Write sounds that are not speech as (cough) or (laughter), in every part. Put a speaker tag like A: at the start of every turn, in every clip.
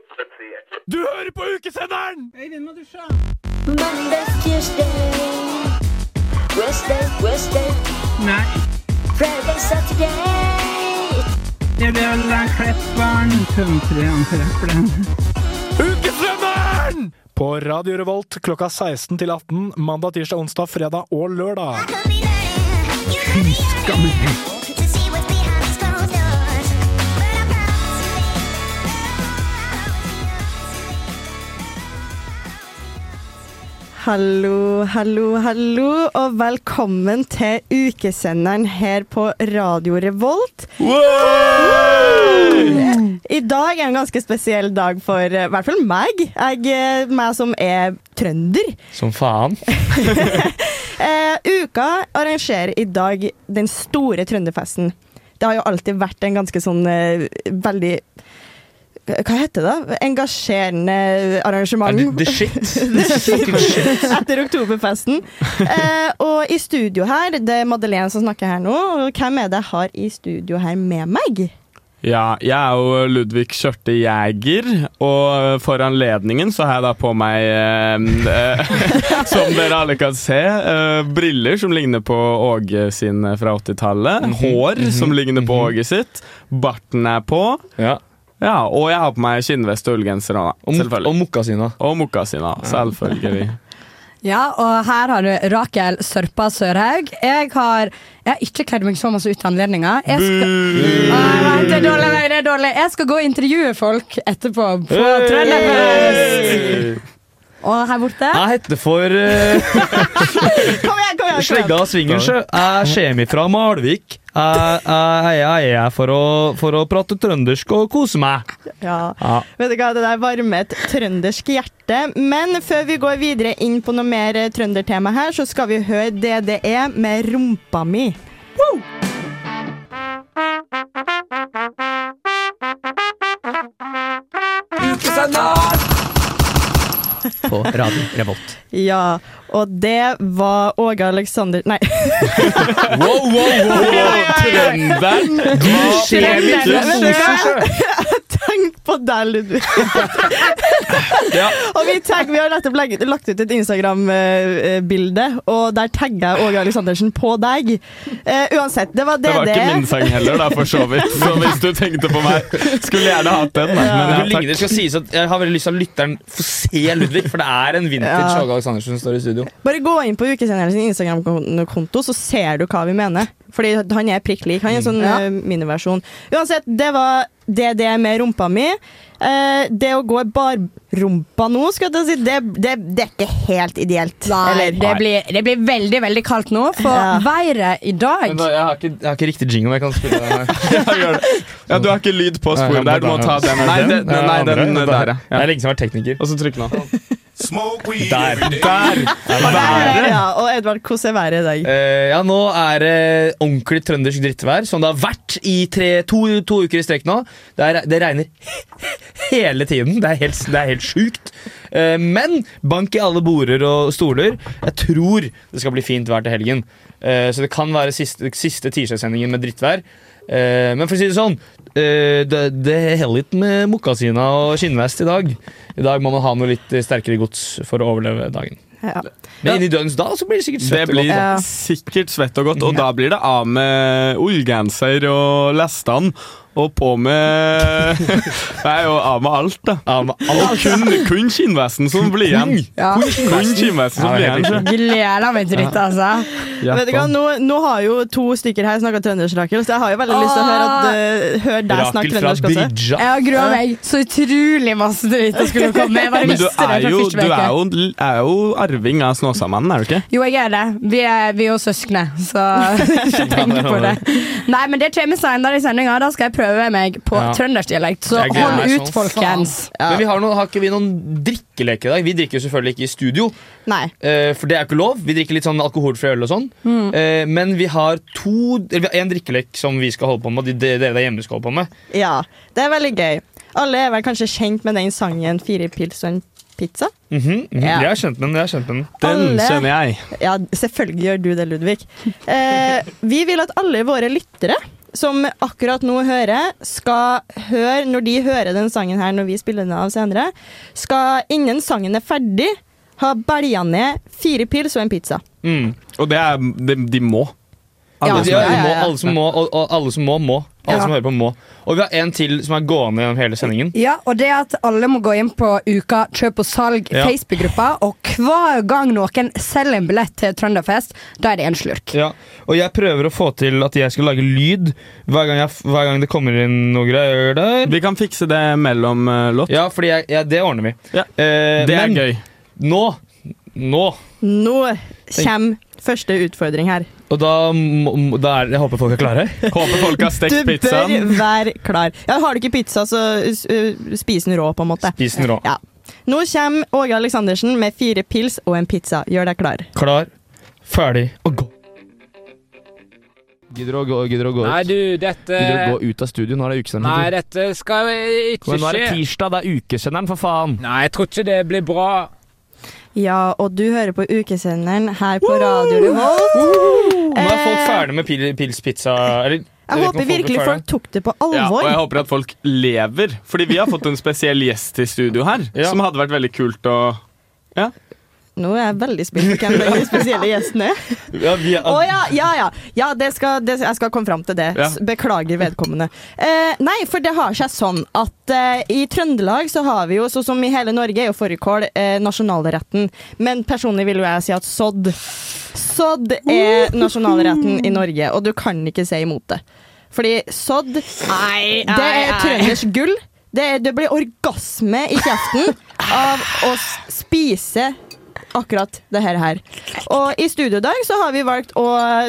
A: assosiert.
B: Du hører på ukesenderen!
C: Mondays, Tuesday, Wednesday, Wednesday. Nei. Friday, Saturday.
B: Ukesenderen! På Radio Revolt klokka 16 til 18 mandag, tirsdag, onsdag, fredag og lørdag.
C: Could be learning. You could be learning to see what's behind these closed doors. But I promise you, baby, I'll always be
D: Hallo, hallo, hallo, og velkommen til ukesenderen her på Radio Revolt. I dag er en ganske spesiell dag for eh, i hvert fall meg. Jeg, eh, meg som er trønder.
E: Som faen.
D: (laughs) Eh, uka arrangerer i dag den store trønderfesten. Det har jo alltid vært en ganske sånn eh, veldig eh, Hva heter det? Engasjerende
E: Er
D: arrangement.
E: det the shit? The fucking shit.
D: Etter oktoberfesten. Eh, og i studio her, det er Madeleine som snakker her nå. og Hvem er det jeg har i studio her med meg?
E: Ja, jeg er jo Ludvig Kjørte Jæger, og for anledningen så har jeg da på meg, eh, (laughs) eh, som dere alle kan se, eh, briller som ligner på Åge sin fra 80-tallet,
F: Mhm,
E: hår som ligner på Åge sitt, barten er på,
F: Ja,
E: ja, og jeg har på meg kinnvest og ullgenser også, da,
F: Og, mok og
E: selvfølgelig.
F: mokkasina.
E: Og mokkasina, selvfølgelig.
G: Ja, og her har du Rakel Sørpa Sørhaug. Jeg har, jeg har ikke kledd meg så masse ut til anledninga. Jeg skal, Å, jeg vet, det er dårlig, nei, det er dårlig. Jeg skal gå og intervjue folk etterpå på Trønderfest. Og her borte
F: Jeg heter for uh,
D: Kom igjen, kom igjen! Kom igjen.
F: Slegga Svingersjø. Jeg kommer fra Malvik. Jeg, jeg, jeg er her for å, for å prate trøndersk og kose meg.
D: Ja.
F: Ja.
D: Vet du hva, det der varmer et trøndersk hjerte. Men før vi går videre inn på noe mer eh, trøndertema her, så skal vi høre DDE med 'Rumpa mi'.
F: På Radio Revolt.
D: Ja, og det var Åge Aleksander Nei.
E: Wow, wow, wow, wow. Trønderen! Du
D: skjer mitt hus.
E: hus!
D: (laughs) Tenk på deg, Ludvig. og vi, tagg, vi har nettopp legget- lagt ut et Instagram-bilde, og der tagger jeg Åge Aleksandersen på deg. Eh, uansett, det var det
E: Det var
D: det.
E: ikke min sang heller, da, for så vidt. Så hvis du tenkte på meg, skulle gjerne hatt den. da. Men ja,
F: Du
E: takk.
F: ligner, skal sies at Jeg har veldig lyst til at lytteren får se Ludvig, for det er en vintage
D: Ja.
F: Åge Aleksandersen står i studio.
D: Bare gå inn på ukesenderen sin Instagram-konto, så ser du hva vi mener. Fordi han er prikk lik. Han er en sånn
G: Ja.
D: eh, miniversjon. Uansett, det var det det er med rumpa mi. Eh, det å gå i barrumpa nå, skal jeg til å si, det, det, det er ikke helt ideelt.
G: Nei,
D: Eller?
G: det blir, det blir veldig, veldig kaldt nå, for
D: Ja.
G: været i
F: Men
G: dag
F: da, jeg, har ikke, jeg har ikke riktig jingle. Jeg kan spille den her.
E: (laughs) Ja, gjør det. Ja, du har ikke lyd på sporet der. Du må ta den. Nei, den,
F: Ja,
E: nei,
F: andre.
E: den der,
F: Jeg
E: ja.
F: har lenge siden vært tekniker.
E: Og så trykk nå.
A: Smoke weed
F: Der.
A: every day.
E: Der!
D: Ja,
E: Været!
D: ja, og Edvard, hvordan er været i dag?
F: Eh, ja, nå er det ordentlig trøndersk drittvær, som det har vært i tre, to, to uker i strekk nå. Det, er, det regner (laughs) hele tiden. Det er helt, det er helt sjukt. Eh, men bank i alle border og stoler. Jeg tror det skal bli fint vær til helgen. Eh, så det kan være siste, siste tirsdagssendingen med drittvær. Eh, men for å si det sånn, eh, det, det heller litt med mokkasina og skinnvest i dag. I dag må man ha noe litt sterkere gods for å overleve dagen.
D: Ja.
F: Men inni dødens dal så blir det sikkert
E: Det
F: søtt. og
E: blir
F: godt, da.
D: Ja.
E: sikkert svett og godt, og da blir det av med ullgenser og lestene. Og på med Nei, og av med alt, da.
F: Ja, men alt
E: Og kun, kun skinnvesten som blir igjen.
F: Hm.
G: Ja.
E: Kun skinnvesten
F: Ja, det
E: som
F: er
E: blir igjen.
F: helt
E: så.
G: gleder meg til dette, altså.
D: Vet du hva, nå, nå har jo to stykker her snakka trøndersk, Rakel, så jeg har jo veldig lyst til å høre, at, eh, høre deg snakke
F: Rakel fra
D: trøndersk også.
F: Didja.
G: Jeg har grua meg så utrolig masse til dette skulle komme. Jeg bare
E: Men du
G: visste det
E: er
G: fra
E: jo,
G: første
E: du er
G: veke.
E: jo, er jo arving av Snåsamannen, er du ikke?
G: Jo, jeg er det. Vi er, vi er jo søskne,
F: (laughs)
G: så (laughs) ikke tenk på det. Nei, men det kommer senere i sendinga. Da skal jeg prøve meg på
F: Ja.
G: trønderdialekt. Så
F: Jeg gleder
G: hold
F: meg
G: ut,
F: sånn.
G: folkens.
F: Men vi har, noen, har ikke vi noen drikkeleke i dag? Vi drikker jo selvfølgelig ikke i studio,
D: Nei.
F: eh, for det er ikke lov. Vi drikker litt sånn alkoholfri øl og sånn.
D: Mm.
F: Eh, men vi har to Eller vi har én drikkelek som vi skal holde på med, og de, de, dere der hjemme skal holde på med.
D: Ja. Det er veldig gøy. Alle er vel kanskje kjent med den sangen 'Fire pils og en pizza'?
F: Mhm, mhm.
D: Ja.
F: Jeg har kjent den. Jeg har kjent den.
E: Den
D: Alle-
E: kjenner jeg.
D: Ja, selvfølgelig gjør du det, Ludvig. Eh, vi vil at alle våre lyttere som akkurat nå hører, skal høre når de hører den sangen her når vi spiller den av senere, skal innen sangen er ferdig, ha belja ned fire pils og en pizza.
F: Mm. Altså,
E: Og det er De, de må.
F: Alle,
D: Ja,
F: som,
D: Altså, ja, ja,
F: Må,
D: ja.
F: alle som må, og, og alle som må, må. Alle
G: Ja.
F: som hører på, må. Og vi har en til som er gående gjennom hele sendingen.
G: Ja, og det at alle må gå inn på Uka kjøp og salg
F: Ja.
G: Facebook-gruppa, og hver gang noen selger en billett til Trønderfest, da er det en slurk.
F: Ja, og jeg prøver å få til at jeg skal lage lyd hver gang, jeg, hver gang det kommer inn noe greier der.
E: Vi kan fikse det mellom eh, låt.
F: Ja, fordi jeg, ja, det ordner vi.
E: Ja.
F: Eh,
E: Det er
F: men
E: gøy.
F: nå Nå!
D: Nå kommer første utfordring her.
F: Og da, må- må- da er, Jeg håper folk er klare.
E: Håper folk har
D: Du
E: stekt
D: bør
E: pizzaen.
D: være klar. Ja, har du ikke pizza, så uh, spis den rå, på en måte.
F: Spis den rå.
D: Ja. Nå kommer Åge Aleksandersen med fire pils og en pizza. Gjør deg klar.
F: Klar, ferdig og gå. Gidder å gå, gidder å gå
A: Nei, du, dette
F: gå ut av studio? Nå er det ukesenderen.
A: Nei, dette skal ikke skje.
F: tirsdag, det er ukesenderen, for faen!
A: Nei, jeg tror ikke det blir bra.
D: Ja, og du hører på ukesenderen her på Radio Revolt.
F: Nå er folk ferdig med pil, pils pizza eller,
D: Eh, Jeg håper virkelig folk tok det på
E: Ja, og
D: alvor.
E: jeg håper at folk lever, fordi vi har fått en spesiell gjest i studio her.
F: Ja.
E: Som hadde vært veldig kult å
D: Nå er jeg veldig spent på hvem den spesielle gjesten er.
F: ja, vi er,
D: Å ja, ja, ja. ja det skal, det, jeg skal komme fram til det.
E: Ja.
D: S- Beklager vedkommende. Eh, nei, for det har seg sånn at eh, i Trøndelag så har vi jo, sånn som i hele Norge, er jo fårikål eh, nasjonalretten. Men personlig vil jo jeg si at sodd Sodd er nasjonalretten i Norge, og du kan ikke si imot det. Fordi sodd, det er trøndersk gull. Det, er, det blir orgasme i kjeften av å s- spise akkurat det her her. Og i studio i dag så har vi valgt å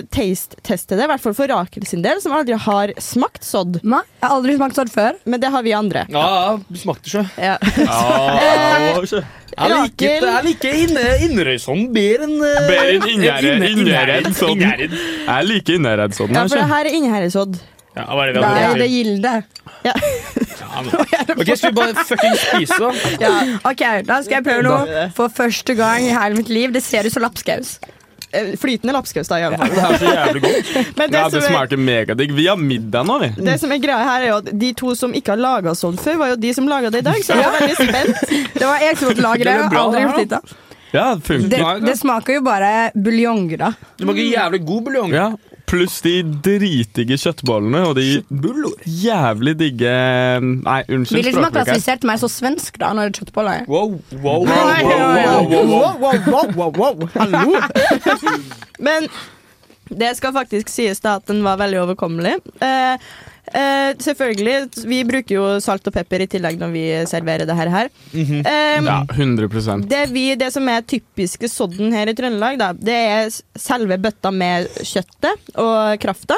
D: taste-teste det, i hvert fall for Rakel sin del, som aldri har smakt sodd.
G: Ma, jeg har aldri smakt sånn før.
D: Men det har vi andre. Eh,
F: ja, ja, smakte sjø.
D: Ja.
F: Jeg liker,
D: Rakel.
F: jeg liker inne, Inderøysand bedre enn eh,
E: Bedre enn Innherred.
F: Inne-
E: Innherred sånn.
F: Innherred.
E: Jeg er like innherred som
D: ja, for det
E: den. altså.
D: her er innherresodd.
F: Ja, hva er det vi
G: Nei,
F: har
G: det
F: gjort?
G: er gilde.
F: Ok, Skal vi bare fucking spise, da?
G: (laughs) Ok, da skal jeg prøve noe for første gang i hele mitt liv. Det ser ut som lapskaus.
D: Eh, Flytende lapskaus, da, i alle fall.
E: Det er så jævlig godt.
D: Men (laughs) det,
E: Ja, det
D: som er,
E: smaker megadigg. Vi har middag nå, vi.
D: det som er greia her, er jo at de to som ikke har laga sodd før, var jo de som laga det i dag, så jeg er veldig spent.
G: Det var jeg som måtte lage
F: Det ble
G: det. Jeg har
F: bra,
G: aldri
F: det
G: gjort
F: her,
G: dette.
E: Ja, det
G: Det,
E: funker.
G: det smaker jo bare buljong, da.
F: Du smaker jævlig god buljong.
E: Ja. Pluss de dritige kjøttbollene og de jævlig digge Nei, unnskyld
G: Ville liksom ha
E: språkbruket. her.
G: klassifisert meg som svensk da, når det er kjøttboller.
F: Wow, wow, wow,
D: Nei,
F: wow, wow, wow, wow.
D: wow, wow, wow, wow. Hallo! (laughs) Men det skal faktisk sies da at den var veldig overkommelig. Eh, eh, selvfølgelig, vi bruker jo salt og pepper i tillegg når vi serverer det her. her. Eh,
E: Ja, 100
D: det, vi, det som er typiske sodden her i Trøndelag, da, det er s- selve bøtta med kjøttet og krafta.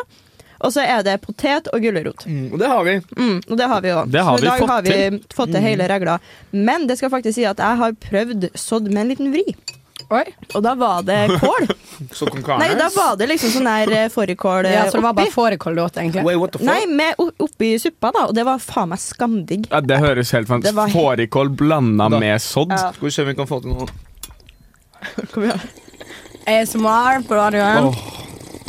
D: Og så er det potet og gulrot.
F: Mm, og det har vi.
D: Mm, og det har vi jo.
E: Det har
D: så
E: vi
D: i dag
E: fått
D: har vi fått til hele regla. Men det skal faktisk si at jeg har prøvd sådd med en liten vri.
G: Oi.
D: Og da var det kål.
F: Så kom
D: Nei, da var det liksom sånn her eh, fårikål eh,
G: Ja, så det var
D: oppi.
G: bare fårikållåt, egentlig.
F: Wait, what the fuck?
D: Nei, med o- oppi suppa, da. Og det var faen meg skamdigg.
E: Ja, det høres helt
D: Det var-
E: fantastisk Fårikål blanda
F: Da-
E: med sodd.
F: (laughs)
D: Ja.
F: Skal vi se om vi kan få til noe
G: Eh, ASMR på radioen.
E: Åh.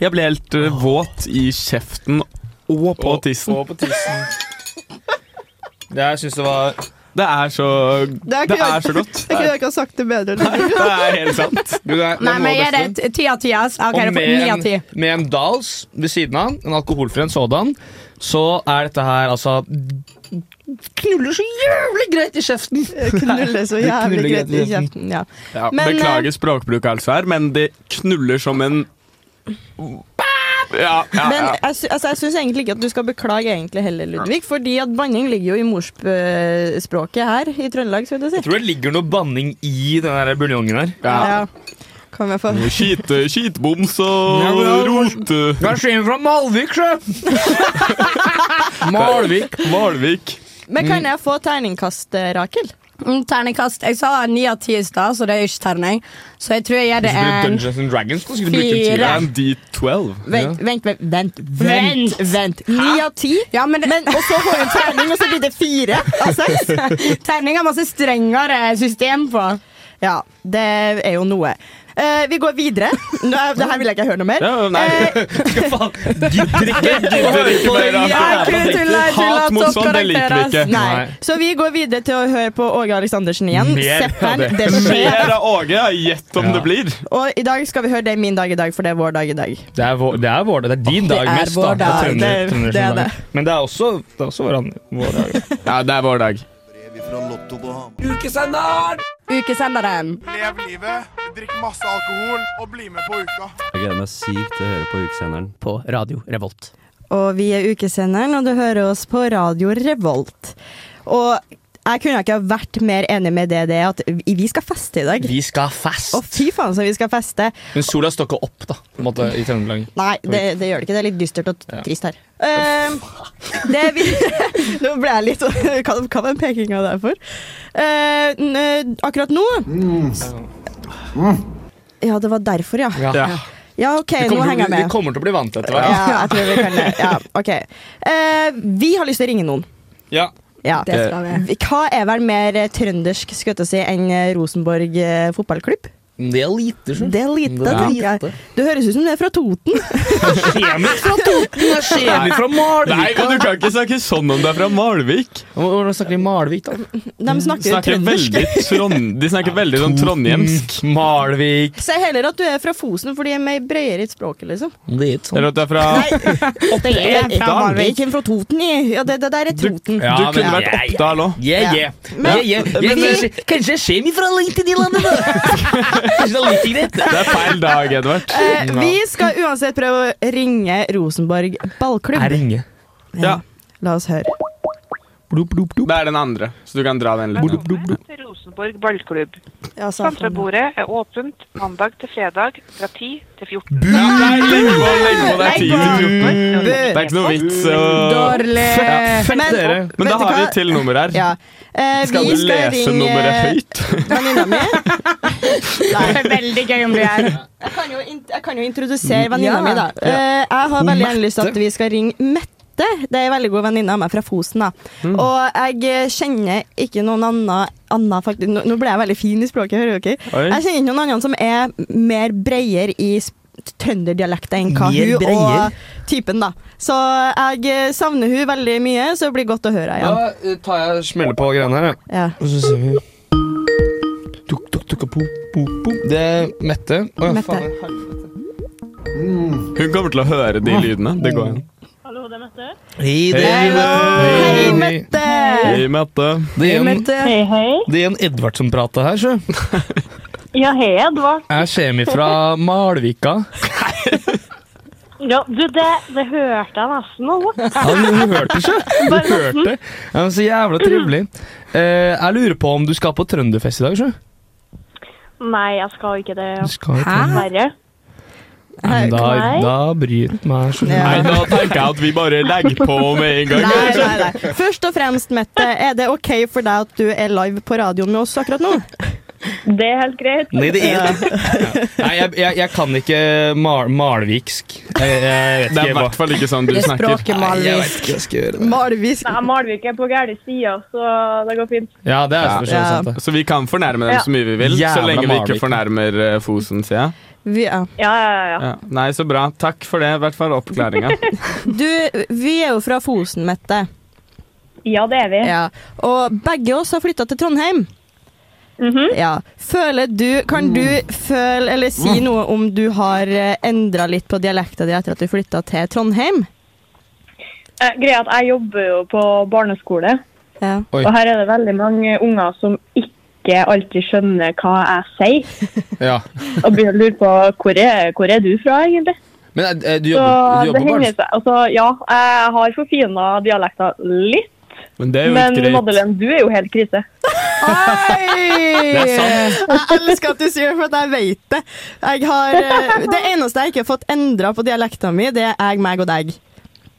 E: Jeg ble helt eh, våt i kjeften og på
F: Og-
E: tissen.
F: og på tissen. Jeg syns det var
E: Det er så
D: Det er ikke-
E: Det er så godt. (laughs)
D: Jeg kunne ikke ha sagt det bedre.
E: Det er helt sant.
F: du, det er- det er
G: Nei,
F: noe
G: men
F: av
G: er
F: det beste.
G: det ti av ti? ass? Ok,
F: Og
G: det får ni av
F: med
G: ti.
F: en, med en Dals ved siden av, en alkoholfri en sådan, så er dette her altså Knuller så jævlig greit
D: (laughs)
F: i kjeften!
D: Knulle så jævlig
F: knuller
D: greit i
F: greit i
D: kjeften. Ja.
E: Ja,
D: Men, eh,
E: beklager språkbruk, altså, her, men det knuller som en ja, ja,
D: Men
E: ja.
D: jeg, sy altså, jeg syns egentlig ikke at du skal beklage egentlig heller, Ludvig. Fordi at banning ligger jo i morsspråket her i Trøndelag, skulle jeg
F: Jeg
D: si.
F: tror det ligger noe banning i den der buljongen her.
E: ja.
D: Kan jeg få
E: Skite, skitboms
F: Ja,
E: og
F: men-
E: rote.
F: Kanskje inn fra Malvik, sjø! Malvik.
E: Malvik.
D: Men kan jeg få terningkast, eh, Rakel?
G: Mm, Terningkast. Jeg sa ni av ti i stad, så det er jo ikke terning. Så jeg tror jeg gir det
F: Skulle du
G: en
F: Dungeons and Dragons? Skulle du bruke en
E: Det
F: tid?
G: Fire.
E: er en D12.
D: Vent, vent, vent. vent, vent, vent. Ni av ti?
G: ja, men,
D: Men, og så får hun terning, og så blir det fire av seks.
G: (laughs) terning har masse strengere system på.
D: Ja, det er jo noe. Eh, vi går videre. Nå, det her vil jeg ikke høre noe mer.
E: Ja, nei.
D: Eh,
F: Skal faen Gidder ikke!
E: Gidder ikke mer, altså.
G: Nei, kun tulla, jeg tulla,
E: Hat mot sånn, det liker vi ikke.
G: toppkarakter,
D: nei. Så vi går videre til å høre på Åge Aleksandersen igjen.
F: Mer av
D: Sepperen,
F: det.
D: det skjer.
E: Mer av Åge. ja, Gjett om det blir.
D: Og i dag skal vi høre Det er min dag i dag, for det er vår dag i dag.
F: Det er vår det er vår dag. Det er din
G: Det
F: dag
G: er
F: mest.
G: vår
F: da.
G: dag.
F: Trønder-
D: Det er-
F: Trønder
D: det er
F: sin dag.
D: det.
F: Men det er også, det er også vår, an- vår dag.
E: Ja, det er vår dag.
A: Ukesenderen!
G: Ukesenderen.
H: Lev livet, drikk masse alkohol og bli med på uka.
I: Jeg gleder meg sykt til å høre på ukesenderen.
J: På Radio Revolt.
D: Og vi er Ukesenderen, og du hører oss på Radio Revolt. Og jeg kunne ikke ha vært mer enig med det det er at vi vi skal feste i dag.
F: (laughs) Vi skal fest!
D: Å, fy faen, så vi skal feste.
F: Men sola står ikke opp, da. På en måte, I Trøndelag.
D: Nei, det, det gjør det ikke. Det er litt dystert og
F: Ja.
D: trist her. Eh, det vi, (laughs) nå ble jeg litt (laughs) Hva hva var den pekinga der for? Eh, n- eh, akkurat nå Ja, det var derfor, ja.
E: Ja.
D: Ja, OK,
F: Vi,
D: nå
F: kommer,
D: henger
F: til-
D: jeg
F: vi
D: med.
F: kommer til å bli vant til dette.
D: Ja,
F: hva?
D: jeg tror vi kan det. Ja, OK. Eh, vi har lyst til å ringe noen.
F: Ja.
D: Ja.
G: Det skal vi.
D: Hva er vel mer eh, trøndersk skulle jeg til å si, enn eh, Rosenborg eh, fotballklubb?
F: Det er lite, skjønner du.
D: Det er lite,
F: Mhm. Det er
D: tenker jeg.
F: lite.
D: Det høres ut som det er fra Toten.
F: Skjemer fra Toten og skjemer fra
E: Nei,
F: Malvik.
E: men du kan ikke snakke sånn om det er fra Malvik.
F: Hvordan snakker de Malvik, da?
D: De snakker,
E: Snakker
D: trøndersk.
E: veldig trond... De snakker veldig sånn trondhjemsk.
F: Malvik
D: Si heller at du er fra Fosen, for de er mer bredere i språket, liksom.
F: Det er ikke sånn.
E: Eller at det er fra
D: Det er fra Malvik, fra Toten. i- Ja, det, det der er
E: Du,
D: Toten.
E: du
F: Ja,
E: kunne
F: men-
E: vært Oppdal òg.
D: Ja.
F: Yeah, yeah.
D: Men-
F: yeah, yeah.
D: men-
F: kanskje, kanskje jeg skjemer fra langt inn i landet, (laughs) da! kanskje det er like greit?
E: Det er feil dag, Edvard.
D: Eh, vi skal uansett prøve å ringe Rosenborg
F: Jeg
D: ballklubb.
F: ringer.
E: Ja.
D: La oss høre.
E: Det er den andre, så du kan dra den litt.
K: til Rosenborg ballklubb.
D: Ja, sa han.
K: Kampbordet er åpent mandag til fredag fra 10 til 14.
E: Ja, nei, legg på, legg på. Det er tid til 14. Det er ikke noe vits å
G: Dårlig.
D: Men-
F: dere.
D: Vet
E: Men da
D: du
E: har vi
D: hva?
E: et til nummer her.
D: Ja. Eh,
E: Skal
D: vi
E: du lese
D: ringe
E: nummeret høyt?
D: Venninna mi.
G: Det er veldig gøy om du er
D: Jeg kan jo, int jeg kan jo introdusere venninna
G: Ja.
D: mi, da. Eh, jeg har veldig gjerne lyst til at vi skal ringe Mette. Det er en veldig god venninne av meg fra Fosen. da. Og jeg eh, kjenner ikke noen annen, annen faktisk, nå, nå ble jeg veldig fin i språket, hører dere?
E: Oi.
D: Jeg kjenner ikke noen annen som er mer breier i sp- trønderdialekt enn hva
F: Mer
D: hun
F: breier?
D: og typen, da. Så jeg eh, savner hun veldig mye, så det blir godt å høre henne igjen.
F: Da eh, tar jeg og smeller på greiene her, jeg.
D: Ja.
F: og så ser vi tuk, tuk, tuk, po, po, po. Det er Mette. Å, ja,
D: Mette.
F: faen, helvete.
E: Hun kommer til å høre de lydene. Det går an.
K: Hallo, det er Mette.
F: Hei, det
E: Hei,
F: er
D: Hei, Mette!
E: Hei, Mette.
F: Det er en,
K: Hei, hei.
F: det er en Edvard som prater her, sjø.
K: Ja, hei, Edvard.
F: Jeg kommer fra Malvika.
K: Ja, du, det, det hørte jeg nesten nå.
F: Ja, du hørte sjø. Du hørte. Ja, men så jævla trivelig. Eh, jeg lurer på om du skal på Trønderfest i dag, sjø?
K: Nei, jeg skal ikke det.
F: Du skal jo
G: Hæ?
F: til-
K: Verre.
F: Ja, men Da,
K: Nei.
F: da bryr jeg meg, sjø.
D: Ja.
E: Nei, da tenker jeg at vi bare legger på med en gang.
D: Nei, nei, nei. Først og fremst, Mette, er det OK for deg at du er live på radioen med oss akkurat nå?
K: Det er helt greit.
F: Nei, det er det. (laughs) Nei, jeg, jeg, jeg kan ikke mal malviksk. Jeg, jeg vet
E: Det er i
F: ikke hva
E: hvert fall ikke sånn du
G: i
E: snakker.
G: språket malvis.
F: ikke hva jeg skal gjøre.
D: Malvis.
K: Nei, Malvik er på gære sida, så det går fint.
F: Ja, det er så
D: Ja.
F: sant, det.
E: Så vi kan fornærme dem så mye vi vil, så
F: Jævla
E: lenge vi ikke
F: Malvik.
E: fornærmer eh, Fosen, sier jeg.
D: Vi, ja.
K: Ja, ja, ja.
E: Ja. Nei, så bra. Takk for det, i hvert fall oppklaringa.
D: Du, vi er jo fra Fosen, Mette.
K: Ja, det er vi.
D: Ja. Og begge oss har flytta til Trondheim.
K: Mhm.
D: ja. Føler du, kan du føle eller si noe om du har endra litt på dialekta di etter at du flytta til Trondheim?
K: Eh, Greia er at jeg jobber jo på barneskole,
D: Ja.
F: Oi.
K: og her er det veldig mange unger som ikke alltid skjønner hva jeg sier,
F: Ja.
K: (laughs) og begynner å lure på hvor er, hvor er du fra, egentlig?
F: Men eh, du
K: Så
F: jobber, du
K: det
F: jobber
K: hender
F: barn?
K: seg. Altså, ja, jeg har forfina dialekter litt,
E: Men det er jo
K: men
E: ikke greit.
K: Madeleine, du er jo helt krise.
D: Oi! Jeg elsker at du sier det, for at jeg vet det. Jeg har, eh, det eneste jeg ikke har fått endra på dialekta mi, det er jeg, meg og deg.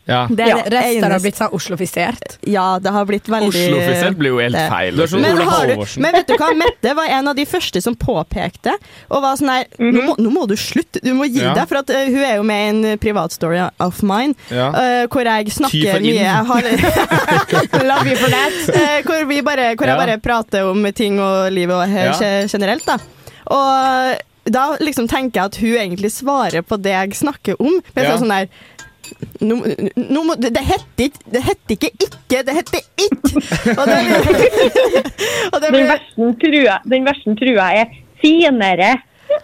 F: Ja.
D: Det
G: Ja,
D: er det
G: resten har
D: eneste.
G: blitt sånn oslofisert.
D: Ja, det har blitt veldig
E: Oslo-offisiell blir jo helt
D: Det-
E: feil.
F: Du er sånn
D: men,
F: Ole
D: har du,
F: Halvorsen.
D: men vet du hva, Mette var en av de første som påpekte Og var sånn her nå, må, nå må du slutte, du må gi
F: Ja.
D: deg For at, eh, hun er jo med i en eh, privat story of mine
F: Ja.
D: eh, Hvor jeg
F: Ty for
D: snakker
F: inn.
D: mye jeg har,
F: (laughs)
D: Love you for that Eh, Hvor, vi bare, hvor
F: Ja.
D: eh, jeg bare prater om ting og livet og he-
F: Ja.
D: ge- generelt da Og da liksom tenker jeg at hun egentlig svarer på det jeg snakker om. Men jeg
F: Ja.
D: sa sånn der nå, nå må, det, det heter ikke Det heter ikke ikke, det heter ikke! Og det, og
K: Den
D: det blir (laughs)
K: versen tror jeg, den versen tror jeg er finere.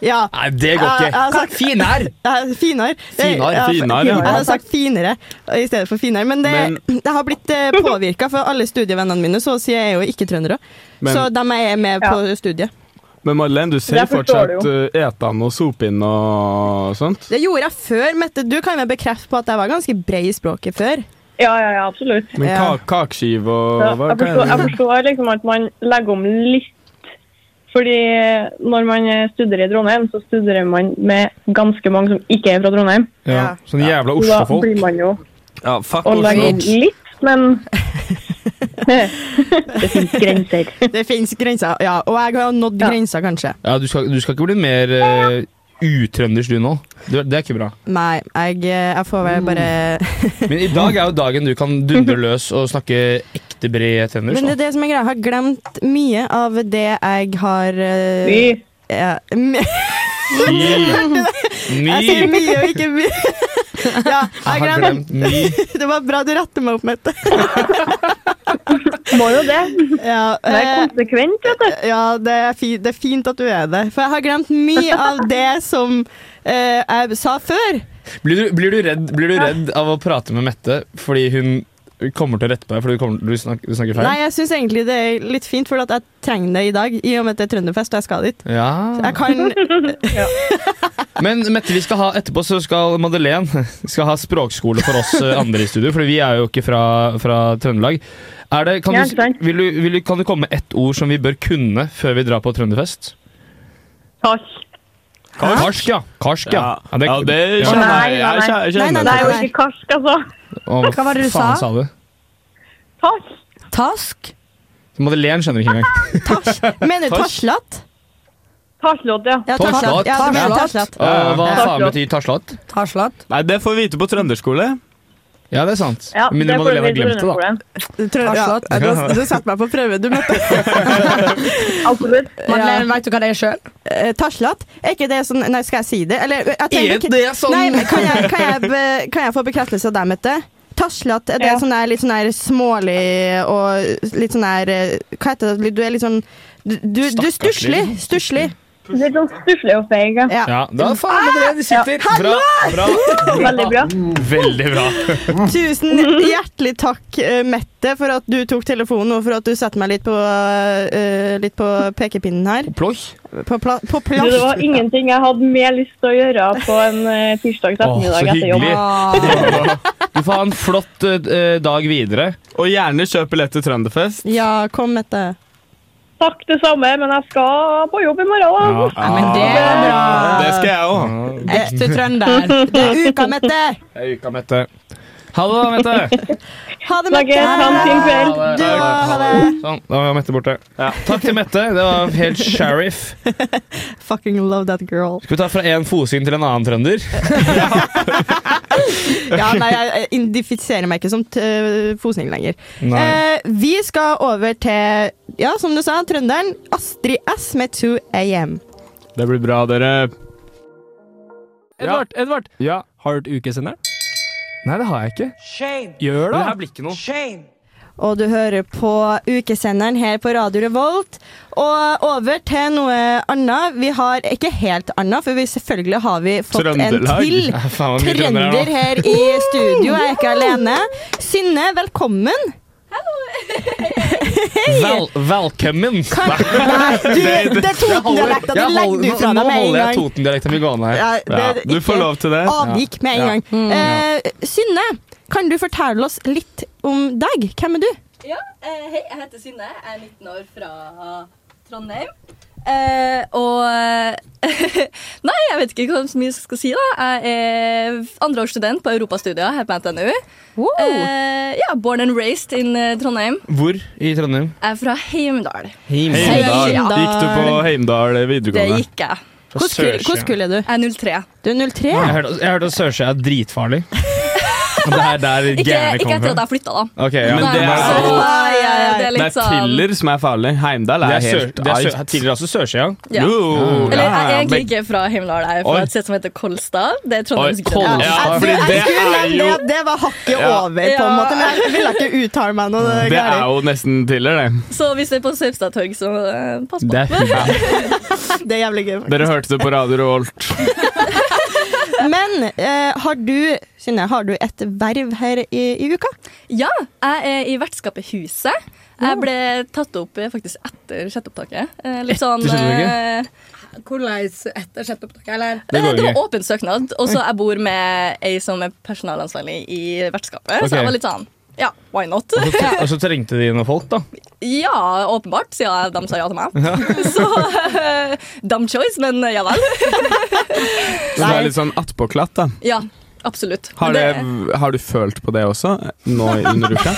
D: Ja.
F: Nei, det
D: Jeg-
F: går
D: jeg har
F: ikke.
D: sagt-
F: Finær!
D: Ja, Finar.
F: Finar,
D: Ja,
E: finar, ja.
D: Jeg hadde sagt finere i stedet for finar. Men det, (clears throat) det har blitt påvirka, for alle studievennene mine så å si er jo ikke trøndere.
E: Men-
D: Så de er med på studiet.
E: Men Madeleine, du ser
K: Det forstår
E: fortsatt uh, etende og sopinn og sånt.
D: Det gjorde jeg før, Mette. Du kan vel bekrefte på at jeg var ganske bred i språket før.
K: Ja, ja, ja, absolutt.
E: Men ka
D: Ja.
E: kakeskive og
K: Ja,
E: hva
K: jeg,
E: hva
K: forstår,
E: er
K: jeg
E: det?
K: forstår liksom at man legger om litt. Fordi når man studerer i Trondheim, så studerer man med ganske mange som ikke er fra Trondheim.
F: Ja. Sånn jævla
K: Så Da
F: Oslo-folk.
K: blir man jo
I: Ja, fuck
K: å legge
I: Oslo.
K: om litt, men
G: (laughs)
K: (laughs) Det finnes grenser.
D: Det fins grenser, ja. Og jeg har nådd
K: Ja.
D: grensa, kanskje.
F: Ja, du skal, du skal ikke bli mer eh, utrøndersk du nå. Du, det er ikke bra.
D: Nei, jeg, eh, jeg får vel bare
F: Men i dag er jo dagen du kan
K: (laughs)
F: dundre løs og snakke ekte bred trøndersk.
D: Men det er det som er greia. Jeg har glemt mye av det jeg har eh,
K: Vi,
D: ja, (laughs) my-
F: My.
D: Jeg sier
F: My.
D: mye og ikke mye. (laughs) Ja, jeg
F: Jeg har
D: glemt.
F: glemt my.
D: Det var bra du retter meg opp, Mette.
K: (laughs) må jo det.
D: Ja,
K: Det er
D: eh,
K: konsekvent, vet du.
D: Ja, det er, fi, det er fint at du er det. For jeg har glemt mye av det som eh, jeg sa før.
F: Blir du, blir, du redd, blir du redd av å prate med Mette fordi hun kommer til å rette på deg fordi du, kommer, du, snakker, du snakker feil?
D: Nei, jeg syns egentlig det er litt fint, for at jeg trenger det i dag. I og med at det er trønderfest og jeg skal dit.
F: Ja.
D: Jeg kan
K: (laughs)
F: Men Mette, vi skal ha, etterpå så skal Madeleine (laughs) skal ha språkskole for oss eh, andre i studio, Fordi vi er jo ikke fra, fra Trøndelag. Er det, kan,
K: Ja,
F: du,
K: ikke sant.
F: vil du, vil du, kan du komme med ett ord som vi bør kunne før vi drar på Trønderfest?
K: Takk.
F: Karsk, ja. Karsk, ja.
E: Ja, ja, det
K: Å,
E: kjenner
K: nei, nei,
E: jeg. Jeg
K: nei.
E: kjenner- jeg
D: Nei, nei,
E: kjenner
K: Det er jo
E: det.
K: ikke karsk, altså.
F: Å,
G: Hva var det du
F: faen sa
G: sa?
F: du?
K: Takk.
G: Task?
F: Madeleine skjønner ikke engang.
D: tasj... Mener du tasjlatt?
K: Taslått, ja.
D: Ja,
F: Taslatt.
D: tasjlatt. Ja, du mener
G: Taslatt.
D: tasjlatt.
F: Å, hva
D: Ja.
F: faen betyr tarslatt?
G: Taslatt?
E: Nei, det får vi vite på trønderskole.
F: Ja, det er sant.
K: ja
F: Men
K: det får
F: Madeleine har
K: vi
F: glemt det, da.
K: Trøndelagsskolen.
D: Trø- Ja,
G: Tasjlatt.
D: du, har- du satte meg på prøve. Du møtte
K: (laughs) Absolutt.
G: Madeleine, vet du hva det er sjøl?
D: eh, tasjlatt. Er ikke det sånn Nei, skal jeg si det? Eller jeg tenker
F: Er
D: ikke-
F: det sånn?
D: Nei, men kan jeg, kan, jeg be, kan jeg få bekreftelse av deg, Mette? Taslatt, er det
K: Ja.
D: sånn der litt sånn der smålig og litt sånn der eh, Hva heter det? Du er litt sånn Du, du, du er stusslig. Stusslig.
K: Litt sånn stusslig og feig. ja.
D: Ja.
F: Ja, da faen Madeleine, du sitter. Bra, bra,
K: Veldig bra.
F: Veldig bra.
D: Tusen hjertelig takk, eh, Mette, for at du tok telefonen, og for at du satte meg litt på, eh, litt på pekepinnen her.
F: Ploj.
D: På, pla på
K: Du, Det var
D: plass.
K: ingenting jeg hadde mer lyst til å gjøre på en eh, tirsdags ettermiddag
F: så
K: etter jobb.
F: hyggelig.
G: Ah,
F: (laughs) Du får ha en flott eh, dag videre.
E: Og gjerne kjøp billett til Trønderfest.
D: Ja, kom, Mette.
K: Takk det samme, men jeg skal på jobb i morgen. da.
G: ja, men det er bra.
E: Det skal jeg òg.
K: Ah.
G: Ekte trønder.
D: Det er uka, Mette!
F: Det er uka, Mette. Ha det, da, Mette.
D: Ha det, Mette!
K: Snakkes. Ha en fin kveld.
D: Du òg. Ha det.
F: Sånn, da var Mette borte. Takk til Mette. Det var helt sheriff.
D: Fucking love that girl.
F: Skal vi ta fra en fosing til en annen trønder?
D: Ja, (laughs) nei, jeg identifiserer meg ikke som t- fosning lenger.
F: Nei.
D: Eh, vi skal over til, ja, som du sa, trønderen Astrid S med 2 AM.
E: Det blir bra, dere.
B: Edvard, Edvard,
F: Ja.
B: har du hørt ukesenderen?
F: Nei, det har jeg ikke.
B: Gjør det!
F: blir ikke noe.
D: Og du hører på ukesenderen her på Radio Revolt. Og over til noe annet. Vi har ikke helt annet, for vi selvfølgelig har vi fått
E: Trøndelag.
D: en til
F: Ja, faen, hvor mye trønder
D: trønder
F: det er nå.
D: her i studio. Jeg er ikke (laughs) alene. Synne, velkommen.
F: Vel, velkommen.
D: Kan, nei, du, det er Toten-dialekta.
F: Jeg
D: Den legger
F: holder-
D: du
F: nå-
D: fra
F: nå
D: deg med en
F: holder
D: gang.
F: jeg Toten-dialekten min gående her.
D: Ja,
E: Ja,
D: det-
E: du får
D: ikke-
E: lov til det.
D: Avvik med en
F: Ja.
D: gang. Eh, Synne, kan du fortelle oss litt om deg? Hvem er du?
J: Ja, eh, hei, jeg heter Synne. Jeg er 19 år fra Trondheim. Eh, og eh, (laughs) Nei, jeg vet ikke hva så mye jeg skal si, da. Jeg er andreårsstudent på europastudier her på NTNU.
D: Eh,
J: Eh, ja, born and raised in eh, Trondheim.
F: Hvor i Trondheim?
J: Jeg er fra Heimdal.
E: Heimdal.
J: Heimdal.
E: Gikk du på Heimdal eh,
J: Det
E: videregående?
J: gikk jeg.
F: Fra
D: Hvordan kul- hvordan
F: Sørsjøen.
D: kul er du?
J: Jeg er 03.
D: Du er 03.
F: Jeg hørte, jeg hørte at Sørsjø er dritfarlig.
E: Det er der
J: Ikke,
E: gærne
J: ikke etter
E: kommer
J: at jeg
E: fra.
J: har flytta, da.
E: Ok, ja.
J: Nei,
E: Men det er,
J: så,
E: jo-
J: ja, ja, det er
E: det
J: litt
E: er
J: sånn
E: Tiller som er farlig. Heimdal er,
F: Det er, sør,
E: helt
F: det er
E: ice.
F: sør, tidligere altså også sørsida.
J: ja.
E: Jo,
J: Eller jeg
E: ja,
J: er
E: ja,
J: egentlig
E: men-
J: ikke fra Himmeldal, jeg er fra
E: Oi.
J: et sted som heter Kolstad. Det er Trondheims
E: Oi,
J: grønne.
E: Kolstad.
D: jeg,
E: fordi
D: jeg,
E: det
D: skulle
E: er
D: nevne
E: jo-
D: det, det var hakket
E: Ja.
D: over, på en
J: Ja.
D: måte, men jeg ville ikke uttale meg noe
E: Det er jo nesten Tiller, det.
J: Så hvis det er på Saupstad torg, så eh, pass på. (laughs)
E: Det er fint.
D: gærent. Det er jævlig gøy.
E: Dere hørte det på Radio Revolt.
D: Men eh, har du, Synne, har du et verv her i, i uka?
J: Ja, jeg er i vertskapet Huset. Jeg ble tatt opp eh, faktisk etter sjette opptaket. Eh, Litt sånn
F: sjette opptaket?
J: eh,
G: (laughs) Hvordan etter sjette opptak, eller?
J: Det,
F: Det går
J: var
F: ikke.
J: åpen søknad, og så jeg bor med ei som er personalansvarlig i vertskapet.
F: Ok.
J: Så jeg var litt sånn ja, why not?
F: Og så, og så trengte de noen folk, da.
J: Ja, åpenbart, siden de sa ja til meg. (laughs) Så eh, dum choice, men eh, ja vel.
E: Så det er litt sånn attpåklatt, da.
J: Ja, absolutt.
E: Har,
J: Men
E: det, har du følt på det også nå i- under uka?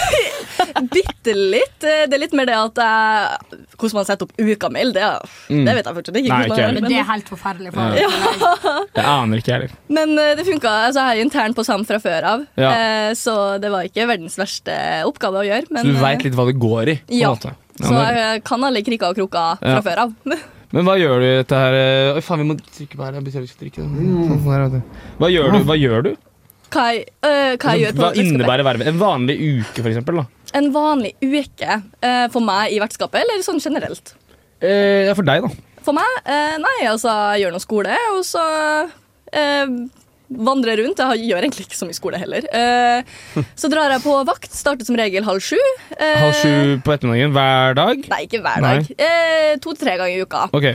J: Bitte litt. Eh, Det er litt mer det at jeg, hvordan man setter opp ukamail, det, det vet jeg fortsatt ikke.
F: Mm. Nei,
J: hvordan man
F: ikke jeg
J: gjør
G: Men
J: det,
G: det
J: men-
G: er helt forferdelig. For meg.
F: Jeg aner ikke, jeg heller.
J: Men eh, det funka. Altså, jeg er jo intern på SAM fra før av,
F: Ja.
J: eh, så det var ikke verdens verste oppgave å gjøre.
F: Så
J: Men,
F: du veit
J: eh,
F: litt hva det går i. På en
J: ja.
F: måte. Ja,
J: så
F: men,
J: jeg kan alle krikker og kroker fra
F: Ja.
J: før av. (laughs)
F: men hva gjør du i dette her eh, Oi, faen, vi må trykke på her. Jeg betyr vi skal drikke den. Sånn her, vet du. Hva gjør du? Hva, gjør du?
J: Hva jeg, eh, hva jeg gjør på
F: hva
J: vertskapet?
F: innebærer vervet? En vanlig uke, for eksempel? Da.
J: En vanlig uke eh, for meg i vertskapet, eller sånn generelt?
F: Eh, ja, for deg, da.
J: For meg? Eh, nei, altså, jeg gjør noe skole, og så eh, vandrer rundt. Jeg har- gjør egentlig ikke så mye skole heller. Eh, så drar jeg på vakt. Starter som regel halv sju. Eh,
F: Halv sju på ettermiddagen hver dag?
J: Nei, ikke hver dag. Eh, To til tre ganger i uka.
F: Ok.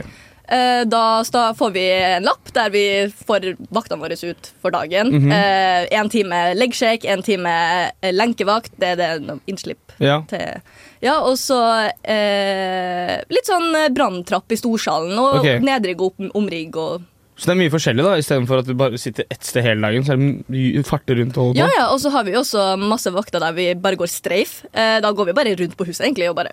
J: Eh, Da sta- får vi en lapp der vi får vaktene våre ut for dagen. Én
F: Mhm.
J: time leggshake, én time eh, lenkevakt. Det er det no- innslipp
F: Ja.
J: til Ja, og så eh, litt sånn eh, branntrapp i storsalen og
F: Ok.
J: nedrigg og om- omrigg og
F: Så det er mye forskjellig, da. Istedenfor at du bare sitter ett sted hele dagen. Så er det farter rundt og holder på.
J: Ja, ja, og så har vi jo også masse vakter der vi bare går streif. Eh, Da går vi bare rundt på huset egentlig og bare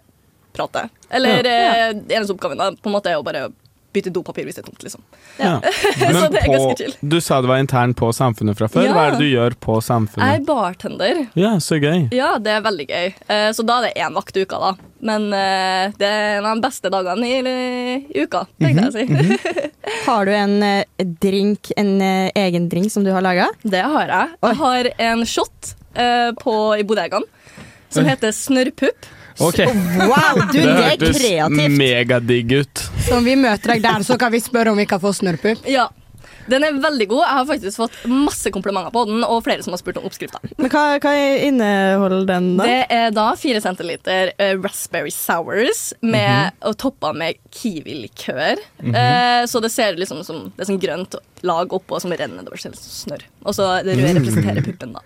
J: prater. Eller eh, eneste oppgaven da på en måte er å bare bytte dopapir hvis det er tomt, liksom.
E: Ja.
J: Så det er
E: på,
J: ganske chill.
E: du sa du var intern på Samfunnet fra før.
J: Ja.
E: Hva er det du gjør på
J: Jeg er
E: Samfunnet?
J: bartender.
E: Ja, så gøy.
J: Ja, det er veldig gøy. Eh, Så da er det én vakt i uka, da. Men eh, det er en av de beste dagene i, i uka, tenkte jeg å si.
D: Har du en eh, drink, en eh, egen drink som du har laga?
J: Det har jeg.
D: Oi.
J: Jeg har en shot eh, på, i bodegaen som heter Snørrpupp.
F: Ok.
D: Wow, du, det er kreativt!
E: megadigg ut.
G: Så om vi møter deg der, så kan vi spørre om vi kan få snørrpupp.
J: Ja. Den er veldig god. Jeg har faktisk fått masse komplimenter på den, og flere som har spurt om oppskrifta.
D: Men hva, hva inneholder den, da?
J: Det er da fire centiliter eh, raspberry sours med, og toppa med kiwilikør. eh, så det ser liksom som det er sånn grønt lag oppå som renner nedover selv som sånn snørr. Og så det røde representerer puppen, da.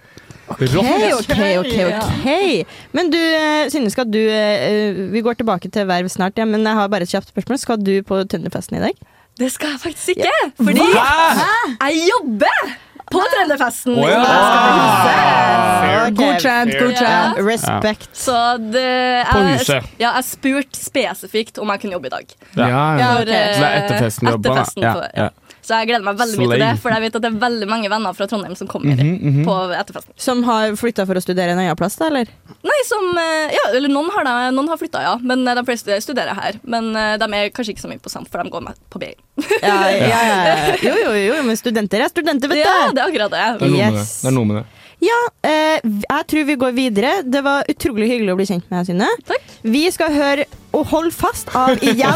D: Ok, ok, ok, ok. Men du, eh, Synne, skal du eh, Vi går tilbake til verv snart, ja, men jeg har bare et kjapt spørsmål. Skal du på Trønderfesten i dag?
J: Det skal jeg faktisk ikke, fordi jeg jobber på Trønderfesten.
D: Ok.
G: Godkjent,
D: Ja,
G: godkjent.
D: respekt.
J: Så det
F: På
J: jeg-
F: huset.
J: Ja, jeg spurte spesifikt om jeg kunne jobbe i dag.
E: Ja.
J: For,
G: ok.
J: eh,
E: Så det er etter festen du jobber, da?
J: etterfesten på- ja. Så jeg gleder meg veldig mye til
E: Slay.
J: det, for jeg vet at det er veldig mange venner fra Trondheim som kommer
E: Mhm,
J: på etterfesten.
D: Som har flytta for å studere en annen plass,
J: (laughs)
D: da, eller?
J: Nei, som, eh, ja, eller Noen har, da- noen har flytta, ja, men eh, de fleste studerer her. Men eh, de er kanskje ikke så mye på SAMP, for de går med på BI.
D: Ja, ja, ja. Jo, jo, jo, men studenter er studenter, vet du!
J: Ja, det er akkurat
F: Det er
J: det.
F: noe med det.
D: Yes.
F: Det er noe med det.
D: Ja, eh, jeg tror vi går videre. Det var utrolig hyggelig å bli kjent med deg, Synne.
J: Takk.
D: Vi skal høre Og hold fast av
F: (laughs)
D: igjen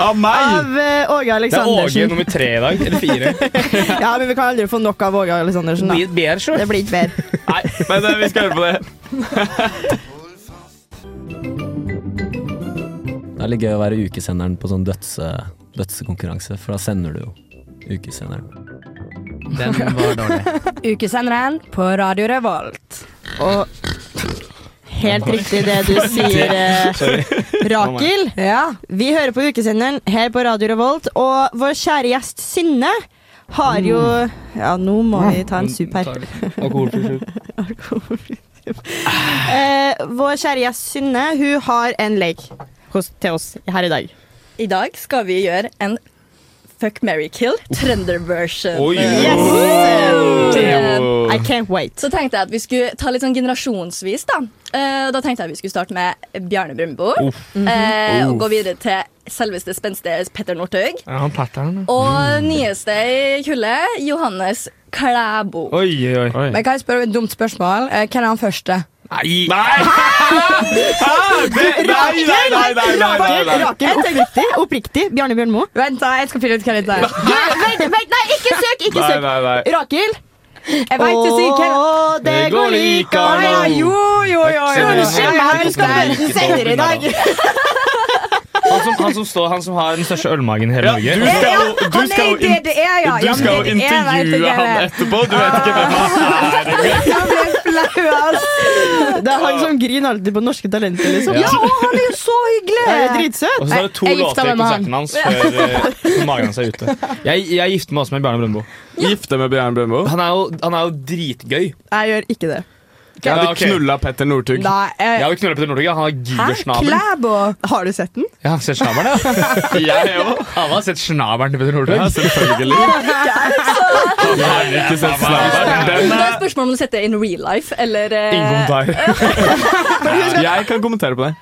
E: Av meg!
D: av eh, Åge
F: Det er Åge
D: Aleksandersen.
F: nummer tre i dag. Eller fire.
E: (laughs)
D: Ja, men vi kan aldri få nok av Åge Aleksandersen. da.
F: Blir et bedre, sjøl.
D: Det blir ikke bedre.
E: Nei, men eh, vi skal høre på det.
I: (laughs) Det er litt gøy å være ukesenderen på sånn dødse, dødsekonkurranse, for da sender du jo ukesenderen.
F: Den var dårlig.
G: Ukesenderen på Radio Revolt.
D: (laughs) Og helt riktig det du sier, eh, Rakel.
G: Ja.
D: Vi hører på ukesenderen her på Radio Revolt, og vår kjære gjest Synne har jo
F: Mm.
D: Ja, nå må vi ta en sup (laughs) her.
F: Alkoholfri slutt.
D: Eh, vår kjære gjest Synne hun har en lek hos, til oss her i dag.
J: I dag skal vi gjøre en Fuck, marry, kill trønderversion.
E: Oi.
D: Yes!
E: Oi.
J: Det- I
D: can't wait.
J: Så tenkte jeg at vi skulle ta litt sånn generasjonsvis. Da Eh, og da tenkte jeg vi skulle starte med Bjarne Brumbo. eh,
E: Mhm.
J: og gå videre til selveste spenstige Petter Northug.
F: Ja, han patteren.
J: Og
E: Mm.
J: nyeste i kullet, Johannes Klæbo.
F: Oi, oi, oi.
G: Men kan jeg spørre om et dumt spørsmål? Eh, Hvem er han første?
F: Nei!
G: (laughs)
E: Ah,
F: Hæ? Det- Nei, nei, nei, nei, nei, nei, nei.
D: Rakel, oppriktig, oppriktig. Bjarne Bjørnmo.
G: Vent, da, jeg skal finne ut hvem dette er.
D: Nei, Vent, vent, nei, ikke søk! Ikke
E: Nei,
D: søk.
E: nei, nei.
D: Rakel.
G: Jeg vet ikke hvem
D: Å, det
E: Det går
D: går like
E: like
G: Å, ja,
D: an å
G: Jo, jo, jo. jo.
D: Unnskyld meg, vi skal møtes senere i dag.
F: Han som, han, som står, han som har den største ølmagen i hele Norge.
E: Ja, du skal jo, du
G: Han
E: skal
G: er
E: jo
G: i DDE, ja.
E: Du
G: Ja, men
E: skal
G: DDE
E: jo
G: vet
E: intervjue
G: jeg
E: han
G: det. Ah,
E: etterpå. Du vet ikke hvem han er.
G: Jeg blir flau, ass.
D: Det er han som griner alltid på Norske Talenter, liksom.
G: Ja, og han er jo så hyggelig!
D: Han er dritsøt.
F: Og så er det to
G: Jeg gifta
F: låter i
G: meg med han.
F: konserten hans før eh, magen hans er ute. Jeg, jeg gifter meg også med Bjarne Brøndbo.
E: Gifte med Bjørn Brumbo.
F: Han, er jo- han er jo
D: Jeg
F: dritgøy.
D: gjør ikke det.
E: Jeg
F: Ja,
E: hadde
F: ok.
E: knulla Petter Northug.
G: Nei,
F: Jeg
G: eh,
F: har jo knulla Petter Northug. ja. Han har
G: Hæ?
F: gigersnabel.
G: Klæbo?
D: Har du sett den?
F: Ja, han ser snabelen, ja.
E: Jeg òg.
F: Alle har sett snabelen til Petter
E: Ja,
F: Northug.
E: selvfølgelig. Han har ikke
J: (laughs)
E: sett snabelen. Den
J: Da
E: er
J: er spørsmålet om du setter det in real life eller eh,
F: Ingen kommentar.
E: Jeg kan kommentere på det.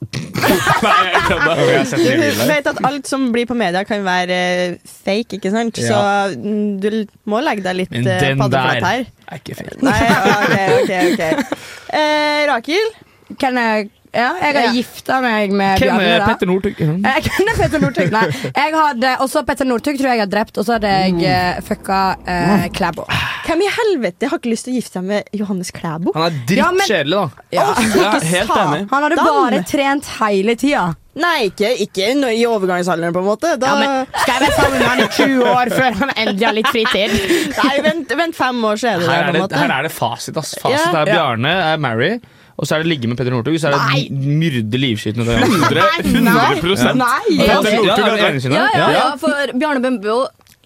E: Nei, jeg kødda.
F: Jeg har sett den i
D: Du
F: real life.
D: vet at alt som blir på media, kan være eh, fake, ikke sant? Så
F: Ja.
D: mm, du l- må legge deg litt
F: Men
D: eh,
F: den
D: paddeflat
F: der.
D: her.
F: Er ikke fint.
D: Nei, ok, ok,
F: (laughs)
D: ok. Eh, Rakel?
G: Hvem er ja, jeg har
D: Ja.
G: gifta meg med
F: Hvem
G: Bjarne.
F: er
G: da.
F: Petter Northug?
G: Eh, Hvem er Petter Northug? Nei. Jeg hadde, også Petter Northug tror jeg jeg har drept, og så hadde jeg eh, fucka eh, Klæbo.
D: Hvem i helvete har ikke lyst til å gifte seg med Johannes Klæbo?
F: Han er
G: Ja, men-
F: drittkjedelig, da.
G: Ja.
E: Ja, helt enig.
G: Han hadde bare trent hele tida.
D: Nei, ikke, ikke nå i overgangsalderen, på en måte. Da,
G: skal jeg være sammen med han i 20 år før han endelig har litt fritid?
D: (laughs) nei, vent, vent fem år, så er det der,
F: Her er
D: på en
F: det,
D: måte.
F: her er det fasit. ass. Fasit
D: Ja.
F: er Bjarne er Mary, og så er det ligge med Petter Northug. Så er det myrde livskytende. til hverandre.
E: 100
D: Nei!
F: Ja,
E: Petter Northug
F: er
E: er
F: det ene sine?
J: Ja, ja,
F: Ja.
J: ja, for Bjarne Brumbo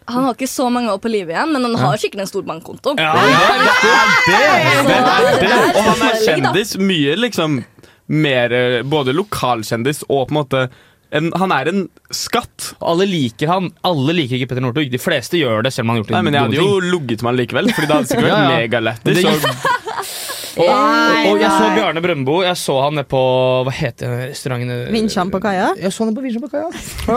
J: han har ikke så mange år på livet igjen, men han har sikkert en stor bankkonto.
F: Ja,
E: Det er (laughs) det! det, er det. Og han er
J: Selvfølgelig, da.
E: kjendis. Mye liksom mer eh, Både lokalkjendis og på en måte en, Han er en skatt.
F: Og Alle liker han. Alle liker ikke Petter Northug. De fleste gjør det, selv om han har gjort
E: Nei, men Jeg hadde
F: dumme
E: jo ligget med han likevel, Fordi det hadde (laughs) sikkert vært
F: Ja, ja.
E: megalættis.
F: Men det-
E: og-
F: ting. Og, og jeg så Bjarne Brøndbo. Jeg så han nede på Hva heter den restauranten?
D: Vinsjan på kaia?
F: Jeg så han på Vinsjan på kaia.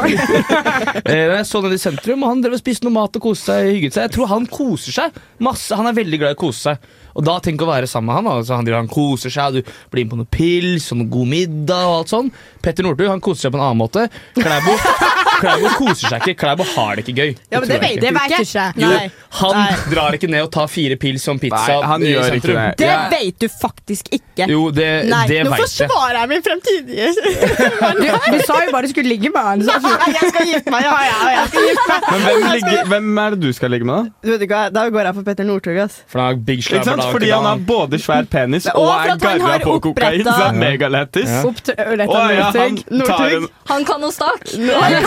F: (laughs) Eh, jeg så han i sentrum, og han drev og spiste noe mat og koste seg. hygget seg Jeg tror han koser seg masse. Han er veldig glad i å kose seg. Og da tenk å være sammen med han. Altså, han, driver, han koser seg, og du blir med på noen pils og noen god middag og alt sånn. Petter Northug han koser seg på en annen måte. Klæbo, Klæbo koser seg ikke. Klæbo har det ikke gøy.
D: Ja, men det
F: tror jeg
D: vet du
F: ikke.
G: Det vet
D: ikke.
G: du ikke.
F: Jo,
D: Nei.
F: han
D: Nei.
F: drar ikke ned og tar fire pils og en pizza
E: Nei, han
F: i
E: gjør ikke
F: sentrum.
E: det.
D: Det
E: Ja.
D: vet du faktisk ikke.
F: Jo, det,
D: Nei,
F: det
D: nå
F: veit jeg.
D: forsvarer jeg min fremtidige
G: Du, du sa jo bare du skulle ligge med han. Så.
D: Nei, jeg skal gifte meg! Ja, ja, ja, jeg skal gifte meg.
E: Men hvem, ligger, hvem er det du skal ligge med, da?
D: Du vet ikke, hva, Da går jeg for Petter Northug. ass.
F: For han har big
E: Ikke
F: slabber,
E: sant?
F: da,
E: Fordi
F: ikke
E: han har
F: sant?
E: både svær penis
D: Men-
E: og
D: og for
E: er
D: at han
E: garva
D: har
E: på kokain.
D: oppretta-
E: Så det er megalættis.
G: Opp til Ørletta
E: Å, ja, han
G: Northug.
E: tar
D: Northug.
E: en
J: Han kan noe stak.
D: Og med
E: Gjett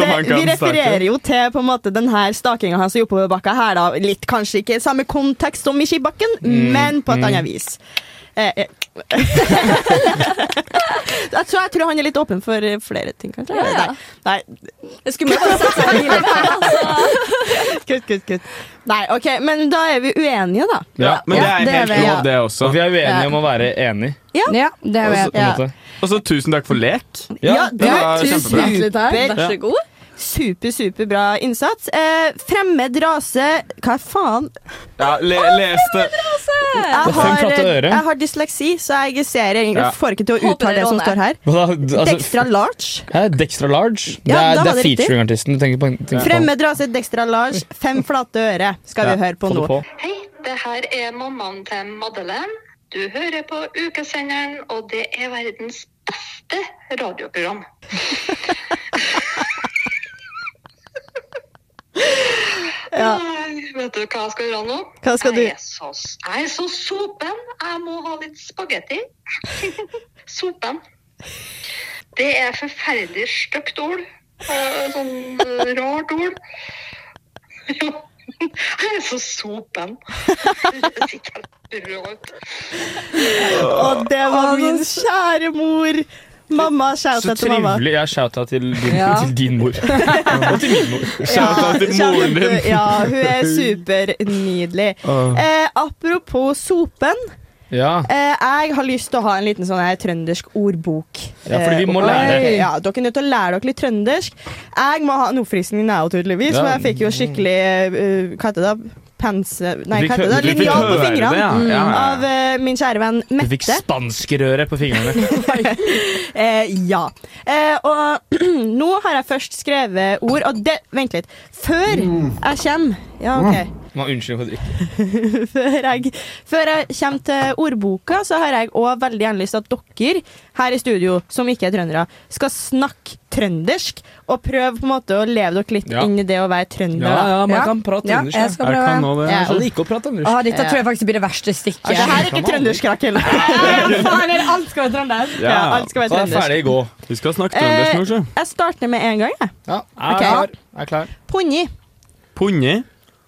E: om han
D: det,
E: kan
D: vi refererer
E: stake.
D: jo til på en måte den her stakinga hans i oppoverbakka her, da. Litt kanskje ikke i samme kontekst som i skibakken,
E: Mm,
D: men på et annet vis. Eh, (laughs) eh. jeg, tror, jeg tror han er litt åpen for eh, flere ting, kanskje.
J: Ja, ja.
D: Nei,
J: Det er skummelt å sette seg inn i det.
D: nei, kutt, kutt, kutt. Nei, ok, Men da er vi uenige, da.
E: Ja, men det
G: Ja,
E: er
G: det er
E: helt
G: vi, ja.
E: lov, det også.
F: Og vi er uenige om å være enig.
G: Ja, det er
F: På
G: vel.
F: en måte.
E: Og så tusen takk for lek.
D: Ja,
E: det var kjempebra.
D: Super,
J: Vær så god.
D: super, super bra innsats. Eh, fremmed rase Hva faen?
E: Ja, le, les det.
D: Jeg
F: Det er fem
D: har,
F: flate ører.
D: jeg har dysleksi, så jeg ser jeg egentlig
E: Ja.
D: får ikke til å
J: Håper
D: uttale
J: dere
D: det som
J: ordner.
D: står her.
F: Hva da? D- Altså,
D: Dextra large.
F: hæ? Dextra Large? Det
D: Ja,
F: er,
D: da
F: det
D: var
F: er
D: det riktig.
F: featuring-artisten du tenker på. Tenker på.
D: Fremmed rase, Dextra large, fem flate øre skal vi høre på
F: Få det
D: nå.
F: på.
L: Hei, det her er mammaen til Madeleine. Du hører på ukesenderen, og det er verdens beste radioprogram. Nei, Vet du hva jeg skal gjøre nå?
D: Hva skal du-
L: Jeg er så, jeg er så sopen. Jeg må ha litt spagetti. (laughs) sopen. Det er forferdelig stygt ord. Eh, Sånn eh, rart ord. (laughs) Jo. Jeg er så sopen. Det sitter helt bra ut.
D: Og det var min kjære mor. Mamma, shout
F: Så
D: out til mamma.
F: trivelig. Jeg shouta til, din-
D: Ja.
F: til din mor. Og til min mor.
D: Ja, shout out til- Ja, hun er supernydelig.
F: Ah.
D: Eh, apropos sopen.
F: (laughs) Ja.
D: Eh, jeg har lyst til å ha en liten sånn her trøndersk ordbok.
F: Ja, fordi vi må
D: Eh,
F: lære.
D: oi, Ja, Dere er nødt til å lære dere litt trøndersk. Jeg må ha en oppfriskning nå, tydeligvis,
F: Ja.
D: for jeg fikk jo skikkelig eh, Hva heter det? da? Pense... Nei,
F: Du fikk
D: hva heter det?
F: hø- du fikk
D: Linjal på
F: høre det,
D: fingrene
F: ja. Ja, ja, ja.
D: av eh, min kjære venn
F: Du fikk
D: Mette.
F: spanskrøret på fingrene.
D: Eh, ja. Eh, og (clears throat) nå har jeg først skrevet ord, og det Vent litt. Før jeg kommer Ja, OK.
F: Nå, unnskyld for drikke.
D: før, jeg, før jeg kommer til ordboka, så har jeg òg veldig gjerne lyst til at dere her i studio, som ikke er trøndere, skal snakke trøndersk og prøve på en måte å leve dere litt
G: Ja.
D: inn i det å være trønder.
G: Ja,
D: da.
G: ja, man Ja. kan prate Ja, trøndersk, jeg ja. skal Jeg prøve. kan nå det. Jeg liker
F: å prate
D: Ah,
G: Å, dette tror jeg faktisk blir det verste stikket.
D: Ja,
G: (laughs)
D: det her er ikke trøndersk, Rakel.
G: Faen, er det alt skal være trøndersk?
D: Ja, altså, alt skal være
E: Da er jeg
D: trøndersk.
E: ferdig i går. Vi skal snakke
D: Eh,
E: trøndersk nå,
D: jeg starter med en gang, jeg.
F: Ja,
E: ikke?
D: Ok.
F: Jeg er klar.
D: Punni.
E: Punni.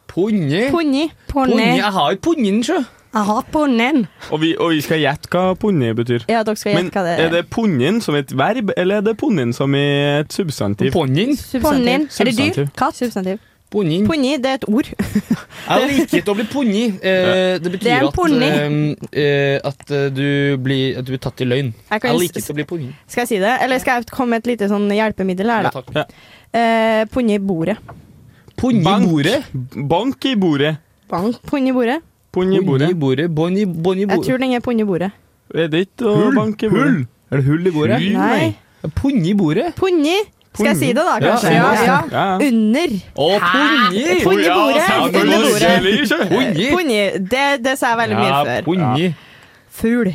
F: Punni?
D: Punni.
E: Punni. Jeg
F: har jo punnen, sjø.
D: Jeg har punnen.
E: Og vi, og vi skal gjette hva punni betyr.
D: Ja, dere skal
E: Men
D: gjette hva det
E: er det punnin som et verb, eller er det punnin som i et substantiv?
F: Punnin?
D: Punnin. Er det dyr? Katt? Substantiv.
F: Punni.
D: det er et ord.
F: Jeg liker ikke å bli punni. Eh,
D: Det
F: det
D: er
F: betyr
D: en
F: at,
D: punni.
F: eh, eh, at eh, du blir, at du blir tatt i løgn.
D: Jeg
F: Jeg,
D: kan s-
F: liker ikke å bli punni.
D: Skal jeg si det, eller skal jeg komme med et lite sånn hjelpemiddel her, da?
F: Ja.
D: Eh, punni i bordet.
F: Punni i bordet.
E: Bank i bordet.
D: Bank. Punni i bordet.
E: Punni i bordet.
F: Bunni, bunni i
D: Jeg tror den er punni i bordet.
E: Er det ikke å banke i bordet?
F: Er det hull i bordet?
E: Hull,
D: Nei.
F: Punni i bordet?
D: Punni. Skal jeg si det, da,
F: Ja,
D: kanskje?
F: ja, ja. Ja, ja.
D: Under.
F: Å, punni!
D: Hæ? Punni i bordet.
F: Ja,
D: Under
F: selvfølgelig,
D: bordet.
F: ikke? Punni.
D: Punni. Det, det sa jeg veldig mye
F: Ja,
D: før.
F: punni.
D: Fugl.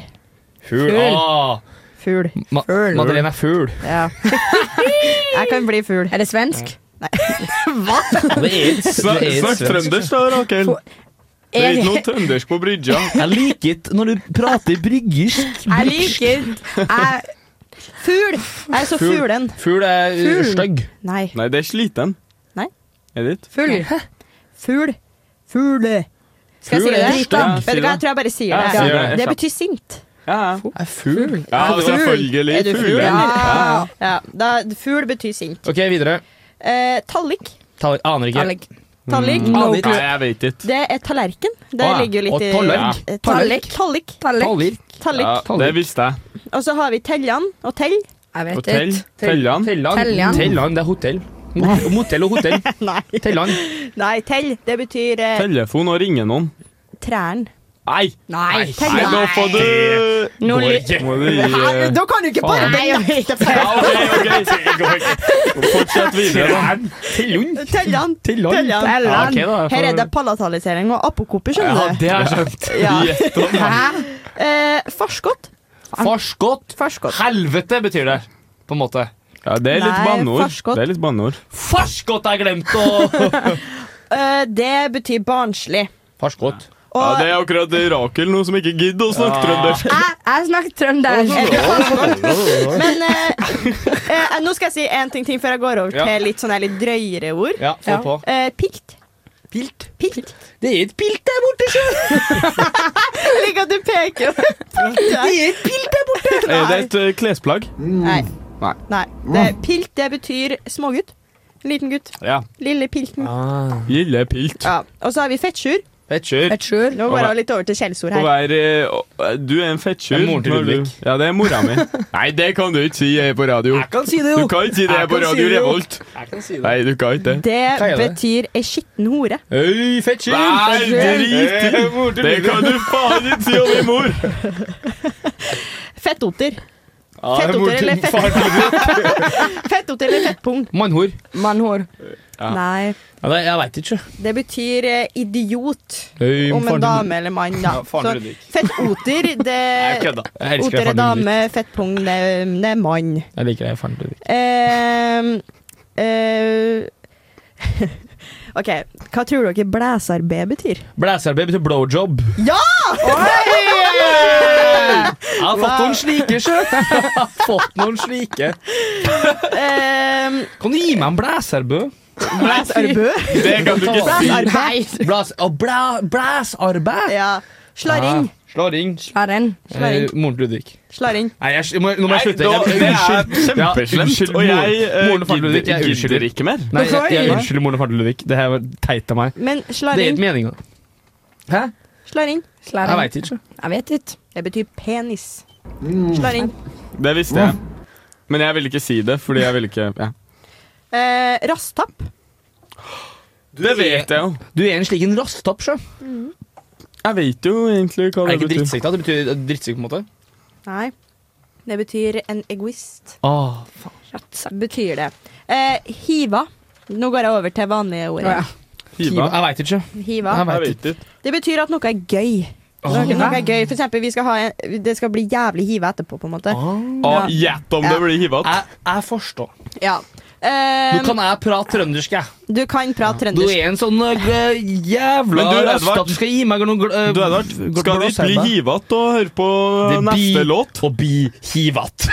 F: Fugl.
D: Fugl.
F: Ah.
D: Fugl.
F: Ma Madeleine
D: (laughs)
F: er fugl.
E: (laughs)
D: Ja. Jeg kan bli fugl. Er det svensk? Nei. Hva?
E: Snak- Snakk trøndersk, da, Rakel. Det er ikke noe trøndersk på brygja.
F: Jeg liker ikke når du prater bryggersk.
D: Jeg liker jeg, Fugl. Jeg er så
E: Fugl.
D: fuglen.
F: Fugl er eh,
D: Fugl.
E: stygg.
D: Nei.
E: Nei, det er sliten.
D: Nei.
E: Er det ikke?
D: Fugl. Fugl. Fugl. Skal jeg si
E: Fugl er
D: det?
E: stygg. Ja, si
D: Vet du hva,
E: det.
D: jeg tror jeg bare sier
E: Ja,
D: det.
E: si det.
D: Det betyr sint.
F: Jeg er fugl.
E: Ja, selvfølgelig.
D: Er du fugl?
E: fugl.
D: Ja. ja. Da, fugl betyr sint.
F: Ok, videre.
D: Eh, tallik.
E: Mm.
F: Tal aner ikke.
D: Tallik. Tallik.
F: Mm.
D: No
F: Aner ikke.
D: clue.
F: Nei, jeg vet ikke.
D: Det er tallerken. Det
F: Å, ja.
D: ligger jo litt
F: Ah, Og
D: i
F: tallerk.
D: Eh, Tallerk. Tallerk.
F: Tallerk.
D: Tallerk.
E: Ja, det visste jeg.
D: Og så har vi teljan og tell. Jeg
E: Og tell. Tellan.
D: Tellan.
F: Tellan, det er hotell. Mot- Motell og hotell.
D: (laughs) Nei.
F: Tellan.
D: Nei, tell. Det betyr eh,
E: Telefon og ringe noen.
D: træren.
E: Nei!
D: Nei,
E: Nei, nå får du
D: Nå li-
E: Må du gi
D: Hæ? Da kan du ikke bare
E: faen.
D: benekte
E: Ja,
D: feil.
E: OK, OK. Fortsett videre, da.
F: Tellund.
D: Tellan.
F: Tellan. Ja, ok, da, jeg får-
D: Her er det palatalisering og apokoper, skjønner du.
F: Ja, det har jeg skjønt.
D: (laughs)
F: (laughs)
D: Ja.
F: Gjett om, da.
D: Hæ? Eh, farskott.
F: Farskott. Helvete betyr det, på en måte.
E: Ja, det er litt
D: Nei,
E: banneord.
D: farskott.
E: Det er litt banneord.
F: Farskott har jeg glemt å
D: Eh, det betyr barnslig.
F: Farskott.
E: Ja, det er akkurat det Rakel nå som ikke gidder å snakke trøndersk.
G: Jeg, jeg snakker trøndersk.
D: Eh, Men eh, eh, nå skal jeg si en ting til før jeg går over
F: Ja.
D: til litt sånne litt drøyere ord.
F: Ja, få på.
D: Eh, pikt.
F: Pilt?
D: Pilt.
F: Det er et pilt der borte, sjø!
D: (laughs) Ligg at du peker. det
F: er et pilt der borte.
E: (laughs) Er det et eh, klesplagg?
D: Nei.
E: Nei.
D: Nei. Det, pilt, det betyr smågutt. Liten gutt.
E: Ja.
D: Lille pilten.
E: Gille pilt.
D: Ja. Og så har vi fettsjur.
E: Fettkjør.
D: Nå går jeg litt over til skjellsord
E: Å
D: her.
E: være eh, å- Du er en
F: Det
E: fettkjur.
F: er moren til
E: når du-
F: Ludvig.
E: Ja, det er mora (laughs) mi. Nei, det kan du ikke si her på radio. Jeg
F: kan si det, jo.
E: Du kan ikke si det her
F: Jeg
E: på
F: kan si
E: Radio
F: det, jo.
E: Revolt.
F: Jeg kan si det.
E: Nei, du kan ikke det.
D: Det
E: Hva er det?
D: betyr ei skitten hore.
F: Øy, fettkjør!
E: Nei,
F: Eh, mor
E: drit i!
F: til
E: Det
F: Ludvig.
E: kan du faen ikke si om min mor!
D: Fettoter.
F: Ja, det er mor
D: Fettoter
F: til
D: eller fett...
F: far til Ludvig.
D: (laughs) Fettoter eller fettpung.
F: Mannhor.
D: Mannhår. Nei.
F: Ja, det, jeg veit ikke.
D: Det betyr eh, idiot.
F: Øy,
D: Om
F: faren
D: en
F: til
D: dame
F: Ludvig.
D: eller mann, da.
F: Ja, faren til Ludvig. (laughs)
D: fettoter,
F: Jeg
D: det
F: kødda. Jeg elsker
D: Oter er
F: faren til Ludvig.
D: dame, fettpung det er det er mann.
F: Jeg liker deg, faren til Ludvig.
D: Ehm, eh, (laughs) OK, hva tror dere blæsarbeid betyr?
F: Blæserarbeid betyr blowjob.
D: Ja!
F: (laughs) Jeg har fått noen slike, sjø. Jeg har (laughs) Fått noen slike.
D: Ehm,
F: Kan du gi meg en blæserbø?
D: Blæserbø?
E: Det kan du ikke si.
F: Blæsarbeid. Blæs, å, blæ, blæsarbeid?
D: Ja. Slarring.
F: Slaring.
J: Slaring.
F: Ah, Eh, moren til Ludvig.
D: Slaring.
F: Nei, jeg, nå må nå må jeg slutte.
E: Nei,
F: Jeg-
E: da- det er
F: unnskyld. Ja,
E: kjempeslemt,
F: unnskyld,
E: og jeg,
F: moren-
E: eh,
F: moren og faren til Ludvig, jeg
E: gidder- gidder
F: unnskylder.
E: ikke mer.
F: Nei, jeg, jeg
D: Hvorfor?
F: unnskylder moren og faren til Ludvig. Det her var teit av meg.
D: Men
F: Det er
D: slaring.
F: ikke meninga. Hæ?
D: Slaring.
F: Jeg veit ikke.
J: Jeg vet ikke.
D: Det betyr penis.
F: Mm.
D: Slaring.
E: Det visste jeg. Men jeg ville ikke si det, fordi jeg ville ikke ja.
D: Eh, Rasstapp.
E: Det vet jeg jo.
F: Du er en slik en rasttapp, sjø.
E: Jeg vet jo egentlig hva
F: Er ikke
E: det betyr.
F: drittsekk, da? Det betyr drittsekk, på en måte?
D: Nei. Det betyr en egoist.
F: Åh,
D: Betyr det. Eh, hiva. Nå går jeg over til vanlige ord.
F: Å, Hiva. Jeg veit ikke.
D: Hiva.
F: Jeg vet ikke.
D: Det betyr at noe er gøy. Noe, noe er gøy. For eksempel, vi skal ha en, det skal bli jævlig hive etterpå, på en måte.
E: Ah, Gjett om det blir hivet.
F: Jeg, jeg forstår.
D: Ja.
F: Nå
D: Eh,
F: kan jeg prate trøndersk, jeg.
D: du kan prate
F: Du
D: trøndersk.
F: er en sånn øh, jævla
E: Men du, Edvard.
F: rastapp. Du skal gi meg noen gl- øh,
E: Du, Edvard,
F: gl-
E: skal dit bli
F: blåsebær.
E: hivet og høre på
F: Det
E: neste
F: blir-
E: låt?
F: Og bli hivat.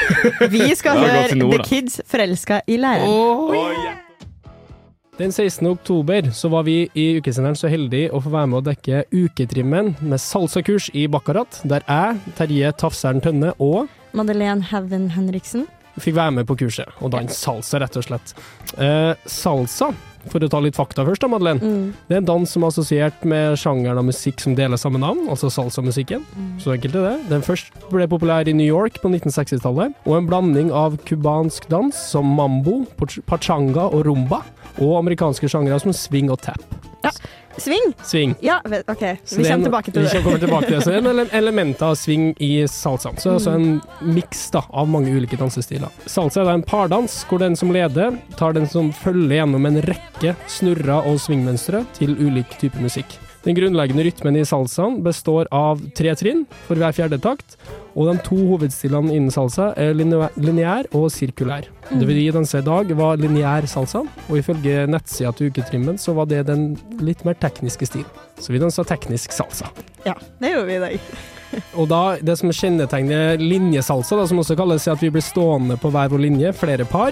D: Vi skal
F: Det er
D: høre
F: godt i nord,
D: The
F: da.
D: Kids forelska i læreren.
G: Den 16. oktober så var vi i ukesenderen så heldige å få være med å dekke uketrimmen med salsakurs i Bakkarat, der jeg, Terje Tafseren Tønne og
D: Madeleine Heaven Henriksen.
G: fikk være med på kurset og danse salsa, rett og slett. Eh, salsa, for å ta litt fakta først da, Madeleine,
D: Mm.
G: det er en dans som er assosiert med sjangeren av musikk som deler samme navn, altså salsa-musikken.
D: Mm.
G: Så enkelt er det. Den først ble populær i New York på 1960-tallet, og en blanding av cubansk dans som mambo, poch- pachanga og rumba, og amerikanske sjangere som swing og tap.
D: Sving!
G: Swing.
D: Ja, vet- OK.
G: Så
D: Vi
G: det er en-
D: kommer tilbake til
G: Vi kommer
D: det.
G: tilbake til det. Så
D: (laughs)
G: det er en ele- element av sving i salsaen. Så det er altså
D: Mm.
G: en miks da, av mange ulike dansestiler. Salsa er da en pardans hvor den som leder, tar den som følger gjennom en rekke snurrer og svingmønstre til ulik sånn type musikk. Den grunnleggende rytmen i salsaen består av tre trinn for hver fjerde takt, og de to hovedstilene innen salsa er linea- lineær og sirkulær. Det vi danser i dag, var lineær salsa, og ifølge nettsida til Uketrimmen så var det den litt mer tekniske stilen. Så vi dansa teknisk salsa.
D: Ja, det gjorde vi i dag.
G: Og da, det som kjennetegner linjesalsa, da, som også kalles, er at vi blir stående på hver vår linje, flere par,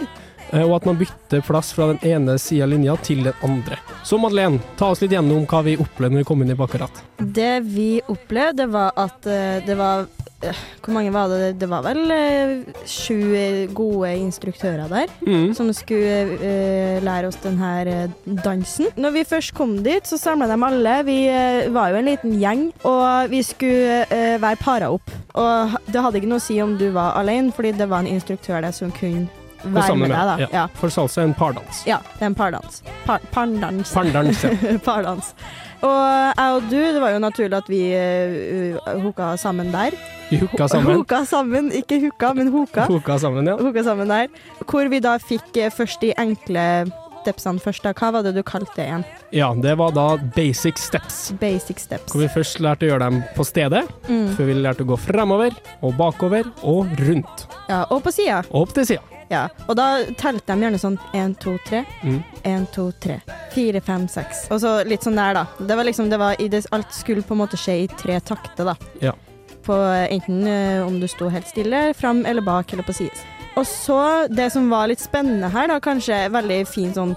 G: eh, og at man bytter plass fra den ene sida av linja til den andre. Så Madeleine, ta oss litt gjennom hva vi opplevde når vi kom inn i Bakkarat.
D: Det vi opplevde, det var at eh, det var eh, Hvor mange var det? Det var vel eh, sju eh, gode instruktører der
G: Mm.
D: som skulle eh, lære oss denne dansen. Når vi først kom dit, så samla de alle. Vi eh, var jo en liten gjeng, og vi skulle eh, være para opp. Og det hadde ikke noe å si om du var alene, fordi det var en instruktør der som kunne
G: Og
D: være
G: sammen
D: med deg. Da.
G: ja. For salsa er en pardans.
D: Ja, det er en pardans. Par, pardans.
G: Pardans, ja.
D: (laughs) pardans. Og jeg og du, det var jo naturlig at vi uh, hooka sammen der.
G: Vi hooka sammen.
D: Hooka sammen, ikke hooka, men hooka.
G: Hooka sammen, ja.
D: Hooka sammen der. Hvor vi da fikk eh, først de enkle stepsene først. da. Hva var det du kalte det igjen?
G: Ja, det var da basic steps.
D: Basic steps.
G: Hvor vi først lærte å gjøre dem på stedet,
D: Mm.
G: før vi lærte å gå fremover og bakover og rundt.
D: Ja, og på sida.
G: Og opp til sida.
D: Ja. Og da telte de gjerne sånn én, to, tre.
G: Mm.
D: Én, to, tre. Fire, fem, seks. Og så litt sånn der, da. Det var liksom, det var i det, alt skulle på en måte skje i tre takter, da.
G: Ja.
D: På eh, enten eh, om du sto helt stille, fram eller bak, eller på sides. Og så, det som var litt spennende her, da, kanskje veldig fin sånn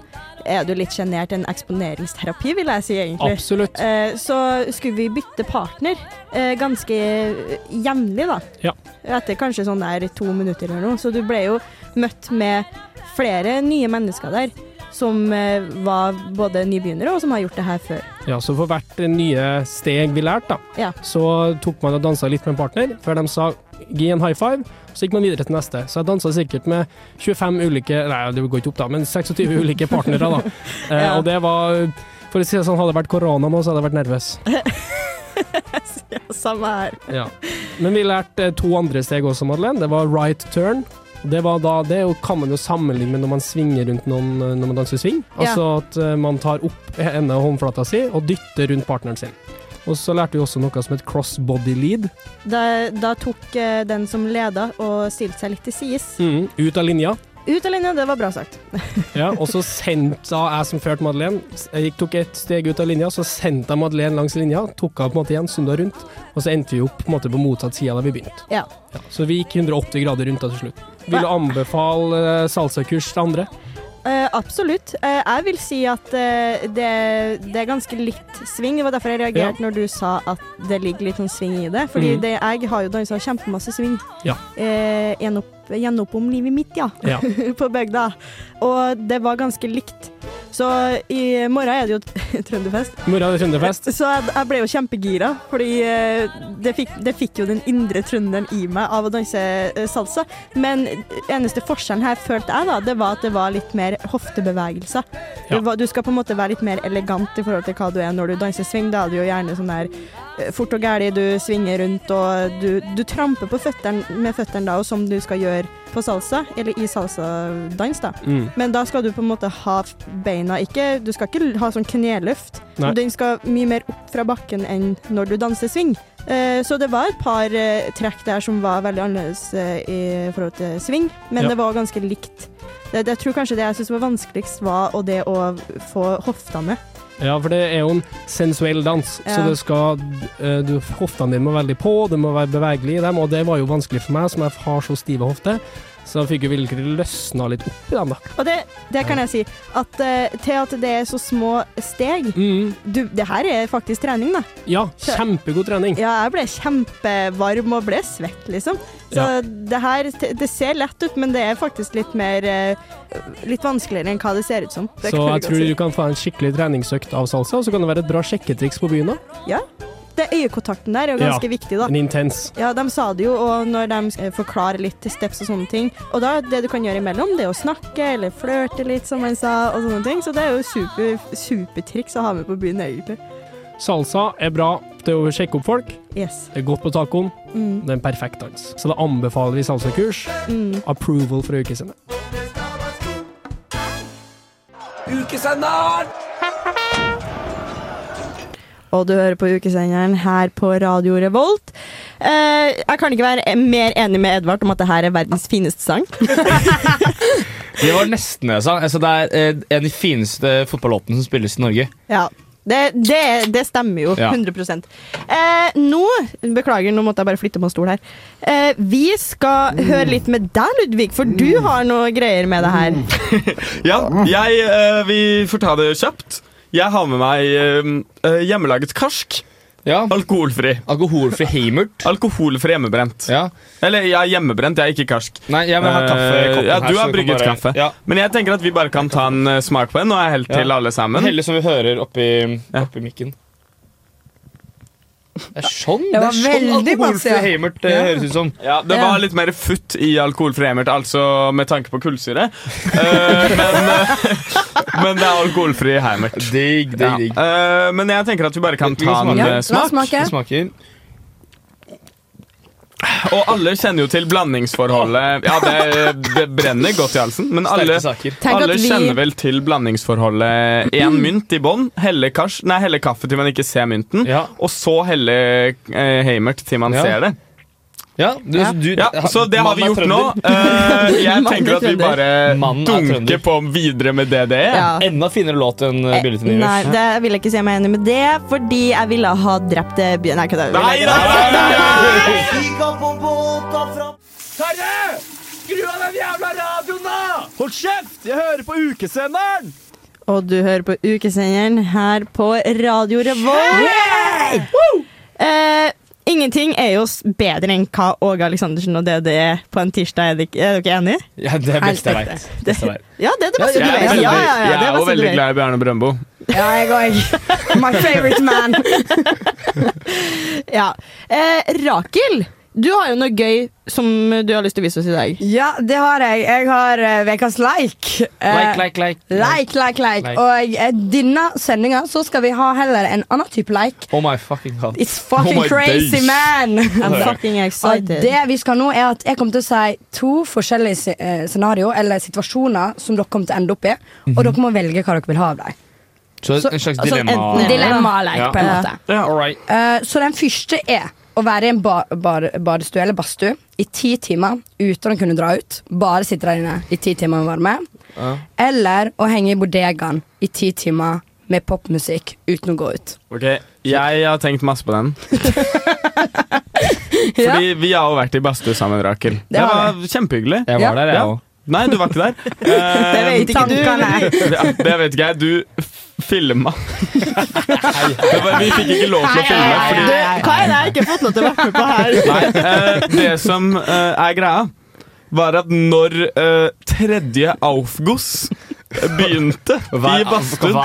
D: Er du litt sjenert? En eksponeringsterapi, vil jeg si, egentlig.
G: Absolutt.
D: Eh, så skulle vi bytte partner eh, ganske jevnlig, da.
G: Ja.
D: Etter kanskje sånn der to minutter eller noe. Så du ble jo møtt med flere nye mennesker der. Som eh, var både nybegynnere og som har gjort det her før.
G: Ja, så for hvert nye steg vi lærte, da,
D: Ja.
G: så tok man og dansa litt med en partner, før de sa gi en high five, så gikk man videre til neste. Så jeg dansa sikkert med 25 ulike Nei, det går ikke opp, da, men 26 ulike partnere, da. Eh,
D: Ja.
G: og det var For å si det sånn, hadde det vært korona nå, så hadde jeg vært nervøs.
D: Samme her.
G: Ja. Men vi lærte eh, to andre steg også, Madeleine. Det var right turn. Det, var da, det er jo- kan man jo sammenligne med når man svinger rundt noen eh, når man danser swing.
D: Ja.
G: Altså at eh, man tar opp enden av håndflata si og dytter rundt partneren sin. Og så lærte vi også noe som het cross body lead.
D: Da, da tok eh, den som leda og stilte seg litt til sides.
G: Mm, ut av linja.
D: Ut av linja, det var bra sagt.
G: Ja, og så sendte jeg som førte Madeleine Jeg gikk, tok et steg ut av linja, så sendte jeg Madeleine langs linja, tok henne på en måte igjen, sunda rundt, og så endte vi opp på, en måte, på motsatt side da vi begynte.
D: Ja.
G: Ja, så vi gikk 180 grader rundt da til slutt. Vil du anbefale eh, salsakurs til andre?
D: eh, absolutt. Eh, jeg vil si at eh, det, det er ganske litt sving. Det var derfor jeg reagerte når du sa at det ligger litt sånn sving i det. Fordi
M: Mhm.
D: det, jeg har jo dansa kjempemasse sving.
M: Ja.
D: Eh, gjennom, gjennom om livet mitt, ja.
M: Ja.
D: (laughs) På bygda. Og det var ganske likt. Så i morgen er det jo (laughs) trønderfest.
M: Mora det er trønderfest.
D: Så jeg, jeg ble jo kjempegira, fordi eh, det fikk, det fikk jo den indre trønderen i meg av å danse eh, salsa. Men eneste forskjellen her, følte jeg, da, det var at det var litt mer hoftebevegelser.
M: Ja.
D: Du, var- du skal på en måte være litt mer elegant i forhold til hva du er når du danser swing. Da er du jo gjerne sånn der eh, fort og gæli, du svinger rundt og du, du tramper på føtteren med føttene da, og som du skal gjøre på salsa, eller i salsadans, da.
M: Mm.
D: Men da skal du på en måte ha f- beina ikke Du skal ikke l- ha sånn kneløft.
M: Nei.
D: Den skal mye mer opp fra bakken enn når du danser swing. Eh, så det var et par eh, trekk der som var veldig annerledes eh, i forhold til swing, men
M: Ja.
D: det var ganske likt. Det, det, jeg tror kanskje det jeg syntes var vanskeligst, var og det å få hoftene.
M: Ja, for det er jo en sensuell dans, så
D: Ja.
M: det skal eh, du, Hoftene dine må veldig på, det må være bevegelig i dem, og det var jo vanskelig for meg, som jeg har så stive hofter. Så jeg fikk jo virkelig løsna litt opp i dem, da.
D: Og det, det kan jeg si. At, eh, til at det er så små steg. Du, det her er faktisk trening, da.
M: Mm. Ja, kjempegod trening.
D: Ja, jeg ble kjempevarm og ble svett, liksom. Så
M: Ja.
D: det her det ser lett ut, men det er faktisk litt mer eh, Litt vanskeligere enn hva det ser ut som. Det
M: Så
D: kan
M: jeg
D: godt
M: tror
D: si.
M: du kan få en skikkelig treningsøkt av salsa, og så kan det være et bra sjekketriks på byen òg.
D: Ja. Det øyekontakten der er jo ganske viktig, da.
M: En intens.
D: Ja, de sa det jo, og når de eh, forklarer litt til steps og sånne ting Og da, det du kan gjøre imellom, det er å snakke eller flørte litt, som han sa, og sånne ting. Så det er jo super, supertriks å ha med på byen, egentlig.
M: Salsa er bra til å sjekke opp folk.
D: Yes.
M: Det er godt på tacoen.
D: Mm.
M: Det er en perfekt dans. Så da anbefaler vi salsakurs.
D: Mm.
M: Approval fra ukesenderen.
A: Ukesenderen!
D: Og du hører på ukesenderen her på Radio Revolt. Eh, jeg kan ikke være mer enig med Edvard om at det her er verdens fineste sang.
F: Det var nesten det jeg sa. Altså, det er eh, en av de fineste fotballåtene som spilles i Norge.
D: Ja, det, det, det stemmer jo.
F: Ja.
D: 100 eh, Nå Beklager, nå måtte jeg bare flytte på en stol her. Eh, vi skal høre litt med deg, Ludvig, for du har noe greier med det her.
E: Ja, jeg, eh, vi får ta det kjapt. Jeg har med meg eh, eh, hjemmelaget karsk. Alkoholfri.
F: Alkoholfri heimert.
E: Alkoholfri hjemmebrent. Eller jeg er hjemmebrent, jeg er ikke karsk.
F: Nei, jeg vil ha kaffe i koppen
E: ja,
F: her, så
E: du
F: Eh,
E: har
F: du kan
E: brygget
F: bare-
E: kaffe.
F: Ja.
E: Men jeg tenker at vi bare kan ta en eh, smak på en, og jeg helt
F: Ja.
E: til alle sammen.
F: Helle som vi hører oppi, oppi mikken. Det er sånn det,
E: var
F: er sånn
E: veldig
F: alkoholfri
E: masse, ja.
F: heimert det høres ut som.
E: Ja, Det var litt mer futt i alkoholfri emert, altså med tanke på kullsyre. Eh, men, eh, men det er alkoholfri heimert.
F: Digg, digg, digg.
E: Eh, men jeg tenker at vi bare kan
F: Vi
E: ta en
F: smaker.
E: eh,
F: Ja, la oss
E: smak.
F: smake. Vi smaker.
E: Og alle kjenner jo til blandingsforholdet. Ja, det, det brenner godt i halsen, men alle,
F: Tenk at
E: alle
F: vi-
E: kjenner vel til blandingsforholdet. Én mynt i bånn, helle, kars- nei, helle kaffe til man ikke ser mynten, og så helle eh, heimert til man
F: Ja.
E: ser det.
F: Ja, du, du-
E: Ja, så det har vi
F: Mannen
E: gjort
F: er
E: nå.
F: trønder.
E: Eh,
D: (laughs)
E: jeg tenker at vi bare
F: Mannen er
E: dunker
F: trønder.
E: på videre med det det er.
D: Ja.
F: Enda finere låt enn eh, Bildet til
D: Nei,
F: Nivers.
D: det vil jeg ikke si meg enig med det, fordi jeg ville ha drept eh, Bjørn. Nei, kødda.
C: Terje! Skru av den jævla radioen, da!
B: Hold kjeft! Jeg hører på ukesenderen!
D: Og du hører på ukesenderen her på Radio Revolt. Woo! Eh, ingenting er jo s- bedre enn hva Åge Aleksandersen og DDE er på en tirsdag. Er, det, ikke- er dere enige?
F: Ja, det er det beste jeg
D: Helt
F: vet.
D: Det-
F: Beste jeg vet.
D: Ja, det er det beste
E: jeg
D: du
E: er
D: vet.
E: veldig-
D: Ja, ja, ja, det
E: jeg er jo
D: beste du
E: veldig
D: vet.
E: glad i Bjarne Brøndbo.
D: Ja, jeg òg. (laughs) My favorite man. ja. Eh, Rakel, du har jo noe gøy som du har lyst til å vise oss i dag.
G: Ja, det har jeg. Jeg har eh, ukas like.
D: Like,
G: Eh,
D: like, like.
G: Like, like, like.
F: Like.
G: Og eh, denne sendinga så skal vi ha heller en annen type like.
F: Oh my fucking god.
G: It's fucking
F: Oh my
G: crazy,
F: days.
G: man!
F: I'm
D: fucking
G: Og Ah, det vi skal nå, er at jeg kommer til å si to forskjellige se- eh, scenario, eller situasjoner, som dere kommer til å ende opp i.
F: Mhm.
G: Og dere må velge hva dere vil ha av dem.
F: Så en slags
G: altså,
F: dilemma.
G: enten- dilemma-like, på en måte.
F: Ah. Ja, all right.
G: Eh, så den første er å være i en ba bar badestue eller badstue i ti timer uten å kunne dra ut. Bare sitte der inne i ti timer med varme.
F: Ja.
G: Eller å henge i bodegaen i ti timer med popmusikk uten å gå ut.
E: Ok, Jeg har tenkt masse på den. Fordi vi har jo vært i badstue sammen, Rakel. Det,
G: har
E: var kjempehyggelig.
F: Jeg var der, jeg
E: Ja.
F: også.
E: Nei, du var ikke der.
D: (laughs) Det vet ikke du, eller?
E: Ja, det vet ikke jeg. Du f- filma. Det var- Vi fikk ikke lov til å filme. Fordi,
D: Hva er det jeg ikke har fått lov til å være med på her?
E: nei, eh, det som eh, er greia, var at når eh, tredje Aufguss begynte i badstuen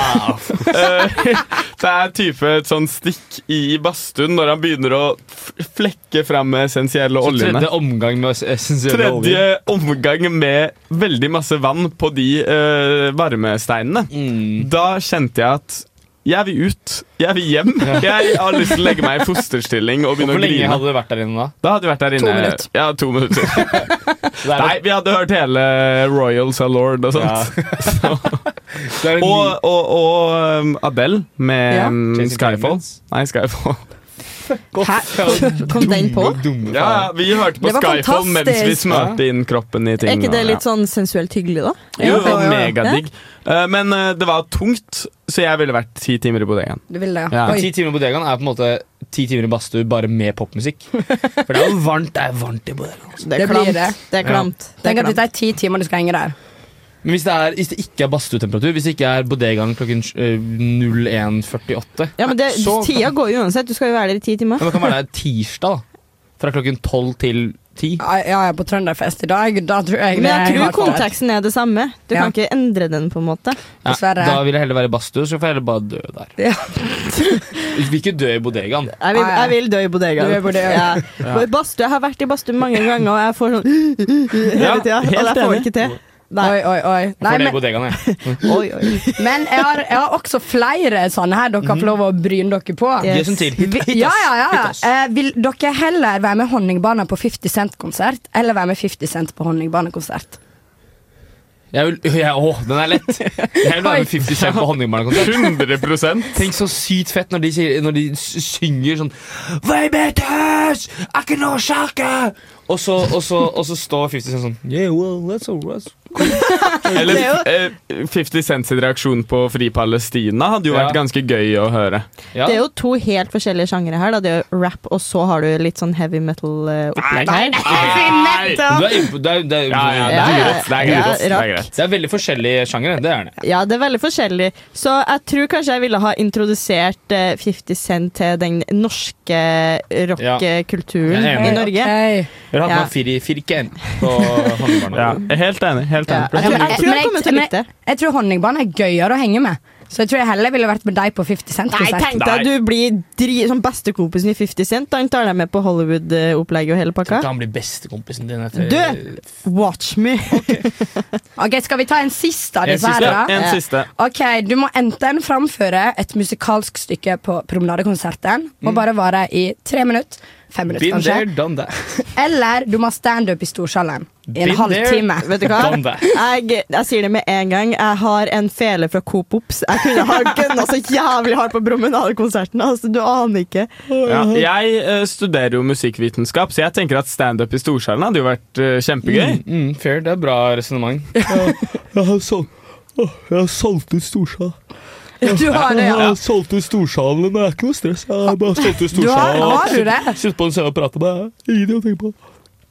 E: eh, (laughs) Det er type et sånn stikk i badstuen når han begynner å f- flekke fram med essensielle
F: Så
E: oljene.
F: tredje omgang med essensielle oljer.
E: Tredje omgang med veldig masse vann på de eh, varmesteinene. Da kjente jeg at jeg vil ut. Jeg vil hjem. Jeg har lyst til å legge meg i fosterstilling og begynne
F: Hvor
E: å grine.
F: lenge hadde du vært der inne da?
E: Da hadde vi vært der inne
F: To minutter.
E: Ja, to minutter. Nei, vi hadde hørt hele Royal Salord og sånt. (laughs) Så. Og, og, og um, Adele med
F: Ja.
E: um,
F: Chasing
E: Skyfall. Nei, Skyfall.
D: Hæ? Kom den på?
E: (laughs) Ja, ja, vi hørte på
D: Det var
E: Skyfall mens vi
D: fantastisk.
E: smørte inn kroppen i ting.
D: Er ikke det
E: og-
D: litt sånn sensuelt hyggelig, da?
E: Jo, det var megadigg. Eh, Men eh, det var tungt, så jeg ville vært ti timer i bodegaen.
G: Du vil det, ja.
E: Ja.
G: Oi.
F: Ti timer på bodegaen er på en måte ti timer i badstue bare med popmusikk. For det er jo varmt det er varmt i bodegaen. altså.
D: Det er klamt. Det er klamt.
F: Ja.
G: Tenk at dette er ti timer du skal henge der.
F: Men hvis det, er, hvis det ikke er badstuetemperatur, hvis det ikke er bodegaen klokken eh, 01.48
D: Ja, men det,
F: så kan-
D: Tida går jo uansett. Du skal jo være der i ti timer.
F: Ja, men det kan være der tirsdag, da. Fra klokken 12 til 10.
G: Ja, ja, jeg er på trønderfest i dag. Da tror jeg
D: Men jeg
G: det er
D: tror
G: hardcore.
D: konteksten er det samme. Du
G: Ja.
D: kan ikke endre den, på en måte.
F: Ja,
G: Dessverre.
F: Da vil jeg heller være i badstue, så får jeg heller bare dø der.
G: Ja.
F: Du vil ikke dø i bodegaen.
D: Jeg vil, jeg vil dø i bodegaen.
F: Du er i bodegaen.
D: Ja.
F: Ja.
D: Og i badstue- Jeg har vært i badstue mange ganger, og jeg får sånn (laughs) hele tida. Og jeg får ikke til.
G: Oi, oi, oi. Nei,
F: For det i
G: men,
F: bodegaen, jeg.
G: men jeg, har, jeg har også flere sånne her dere får lov å bryne dere på.
F: Mhm. Gi oss en til. Hit-
G: Vi-
F: hit oss.
G: Ja, ja, ja.
F: Hit oss.
G: Eh, vil dere heller være med Honningbarna på 50 Cent-konsert eller være med 50 Cent på Honningbarna-konsert?
F: Jeg vil, jeg, åh, den er lett. Jeg vil være med 50 Cent på
E: (laughs)
D: (laughs)
F: Honningbarna-konsert.
E: 100
F: Tenk så sykt fett når de, sier, når de s- synger sånn Vei med tøs! Er ikke noe sjakke! Og så, og, så, og så står 50 Cent sånn Yeah, well, that's all right.
E: Eller eh, 50 Cent sin reaksjon på Fri Palestina hadde jo vært ganske gøy å høre.
D: Det er jo to helt forskjellige sjangere her. Da. Det er jo rap, og så har du litt sånn heavy metal-opplegg her.
F: Nei! Du er innpå- det er- det er-
D: ja, det er greit, det er greit, det er
F: Ja,
D: greit.
F: Det er veldig forskjellige sjangere. Det er det.
D: Ja, det er veldig forskjellig. Så jeg tror kanskje jeg ville ha introdusert eh, 50 Cent til den norske eh,
F: Ja.
D: rockekulturen
F: Jeg er
G: Eh,
D: i
F: enig.
D: Norge.
F: Jeg har hatt
D: Ja.
F: meg fir, firken på Honningbarna.
E: Helt enig. helt enig.
D: jeg
G: Jeg (laughs) tror-
D: tror
G: men
D: jeg kommer til å
G: men
D: like det.
G: jeg- Jeg tror Honningbarna er gøyere å henge med. Så jeg tror jeg heller ville vært med deg på 50
D: Nei,
G: Cent-konsert.
D: tenk deg, du blir dri som bestekompisen i 50 Cent. Han tar deg med på Hollywood-opplegget og hele pakka.
F: Han blir bestekompisen din etter
D: Du! Watch me!
G: Ok, Skal vi ta en siste av
F: En
G: disse her,
F: siste,
G: da?
F: ja, en
G: Ja.
F: siste.
G: Ok, Du må enten framføre et musikalsk stykke på promenadekonserten og bare vare i tre minutter, fem minutter
F: Mm. Been there,
G: kanskje,
F: done that.
G: eller du må ha standup i Storsalen i en
F: Been
G: halvtime.
F: there,
D: Vet du hva?
F: done that.
D: Jeg, jeg sier det med en gang. Jeg har en fele fra Coop Ops. Jeg kunne ha gønna så jævlig hardt på promenadekonserten. Altså, du aner ikke.
E: Ja, jeg eh, studerer jo musikkvitenskap, så jeg tenker at standup i Storsalen hadde jo vært eh, kjempegøy.
F: Mm, fair, det er bra resonnement.
E: Jeg har, solgt ut Storsalen.
G: Du har det, ja. Jeg har
E: solgt ut Storsalen, men det er ikke noe stress. Jeg har bare solgt ut
G: Du har- Storsalen. har du det?
E: Sitt på en scene og prate med deg. Ingenting å tenke på.